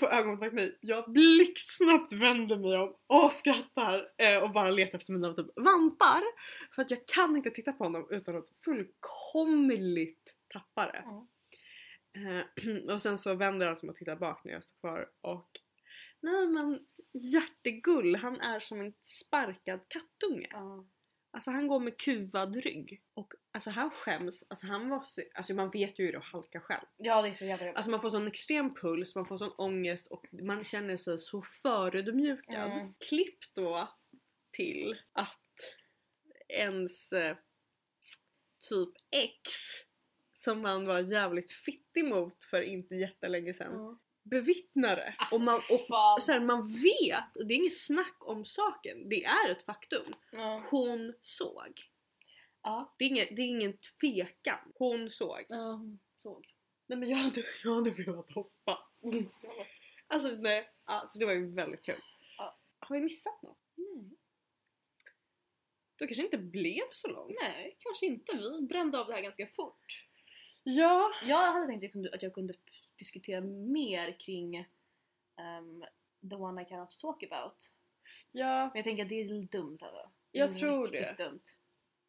Speaker 1: på ögonkontakt med mig, jag blixtsnabbt vänder mig om och skrattar eh, och bara letar efter mina typ vantar. För att jag kan inte titta på honom utan att fullkomligt tappa det.
Speaker 2: Ja.
Speaker 1: Eh, och sen så vänder han sig om och tittar bak när jag står kvar och nej men hjärtegull, han är som en sparkad kattunge.
Speaker 2: Ja.
Speaker 1: Alltså han går med kuvad rygg. Och alltså han skäms, alltså han var så, alltså man vet ju hur det är att halka själv.
Speaker 2: ja, det är så jävla roligt.
Speaker 1: Alltså man får sån extrem puls, man får sån ångest och man känner sig så förödmjukad.
Speaker 2: Mm.
Speaker 1: Klipp då till att ens eh, typ ex som man var jävligt fittig mot för inte jättelänge sedan
Speaker 2: Ja.
Speaker 1: bevittnar det.
Speaker 2: Mm. Alltså,
Speaker 1: och man,
Speaker 2: fy
Speaker 1: och,
Speaker 2: fan.
Speaker 1: så här, man vet, det är inget snack om saken, det är ett faktum.
Speaker 2: Ja.
Speaker 1: Hon såg.
Speaker 2: Ja.
Speaker 1: Det är ingen, det är ingen tvekan. Hon såg.
Speaker 2: Mm. Såg.
Speaker 1: Nej men jag hade, jag hade velat hoppa. Alltså nej, alltså, det var ju väldigt kul.
Speaker 2: Ja.
Speaker 1: Har vi missat något? Då kanske inte blev så långt.
Speaker 2: Nej, kanske inte. Vi brände av det här ganska fort.
Speaker 1: Ja.
Speaker 2: Jag hade tänkt att jag kunde, att jag kunde diskutera mer kring ehm, the one I cannot talk about.
Speaker 1: ja.
Speaker 2: Men jag tänker att det är lite dumt. Alltså.
Speaker 1: Jag
Speaker 2: är
Speaker 1: tror
Speaker 2: riktigt dumt.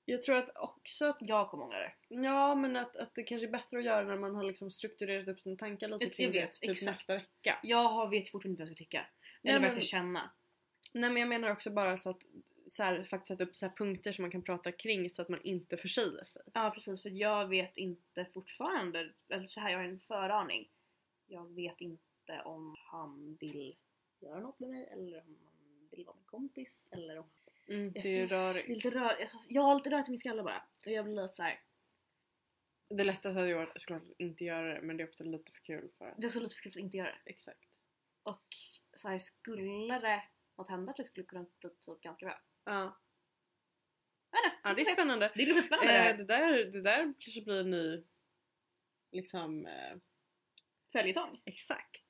Speaker 1: Jag tror att också att,
Speaker 2: Jag kommer ångra det.
Speaker 1: ja men att, att det kanske är bättre att göra när man har liksom strukturerat upp sina tankar lite
Speaker 2: Jag-
Speaker 1: kring
Speaker 2: jag
Speaker 1: det
Speaker 2: vet,
Speaker 1: typ
Speaker 2: exakt.
Speaker 1: nästa vecka.
Speaker 2: Jag har- vet fortfarande inte vad jag ska tycka.
Speaker 1: Nej,
Speaker 2: Eller vad jag
Speaker 1: men-
Speaker 2: ska känna.
Speaker 1: Nej men jag menar också bara så att så här, faktiskt sätta upp så här punkter som man kan prata kring så att man inte försäger sig.
Speaker 2: Ja precis, för jag vet inte fortfarande. Eller så här, jag har en föraning. Jag vet inte om han vill göra något med mig eller om han vill vara min kompis. Eller om...
Speaker 1: Mm,
Speaker 2: Jag
Speaker 1: det är ju
Speaker 2: får-
Speaker 1: rörigt.
Speaker 2: det är lite rör... alltså, jag har lite rört i min skalle bara. Och jag blir lite så här.
Speaker 1: Det lättaste hade ju varit att såklart inte göra det men det är också lite för kul för att...
Speaker 2: Det är också lite för kul att inte göra det.
Speaker 1: Exakt.
Speaker 2: Och så här, skulle det något hända tror jag skulle kunna bli typ ganska bra.
Speaker 1: Ja.
Speaker 2: Jag vet inte,
Speaker 1: ja, det
Speaker 2: vi
Speaker 1: är
Speaker 2: får se.
Speaker 1: spännande.
Speaker 2: det är lite spännande.
Speaker 1: Eh, det, där, det där kanske blir en ny... Liksom... Eh,
Speaker 2: Följetong.
Speaker 1: exakt.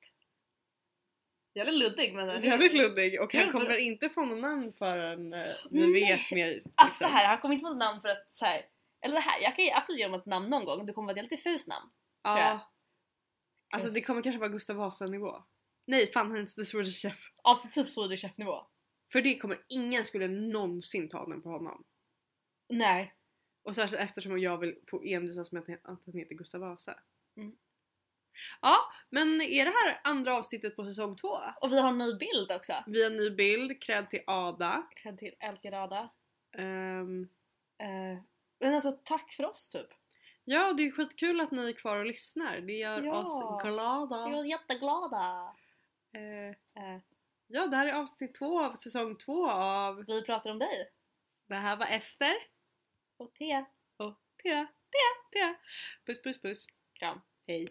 Speaker 2: Jävligt luddig men...
Speaker 1: Jävligt luddig och han
Speaker 2: Kul.
Speaker 1: kommer inte få något namn förrän eh,
Speaker 2: Nej.
Speaker 1: vi vet mer.
Speaker 2: Alltså så här, han kommer inte få ett namn för att så här, Eller det här, jag kan ju absolut ge honom ett namn någon gång. Det kommer vara ett lite diffust namn. tror jag.
Speaker 1: Ja. Alltså det kommer kanske vara Gustav Vasa-nivå. Nej fan han är inte The Swedish Chef.
Speaker 2: Alltså typ Swedish Chef-nivå.
Speaker 1: För det kommer ingen skulle någonsin ta den på honom.
Speaker 2: Nej.
Speaker 1: Och särskilt eftersom jag vill få envisas med att he- att han heter Gustav Vasa.
Speaker 2: Mm.
Speaker 1: Ja, men är det här andra avsnittet på säsong två?
Speaker 2: Och vi har en ny bild också.
Speaker 1: Vi har en ny bild, cred till Ada.
Speaker 2: Cred till älskade Ada.
Speaker 1: Ehm,
Speaker 2: Eh, men alltså tack för oss typ.
Speaker 1: ja, och det är skitkul att ni är kvar och lyssnar. Det gör
Speaker 2: Ja.
Speaker 1: oss glada.
Speaker 2: Vi var jätteglada.
Speaker 1: Eh,
Speaker 2: Eh,
Speaker 1: ja, det här är avsnitt två av säsong två av
Speaker 2: vi pratar om dig
Speaker 1: Det här var Ester
Speaker 2: och Thea.
Speaker 1: och Thea. Det är jag. Puss puss puss. Kram. Hej.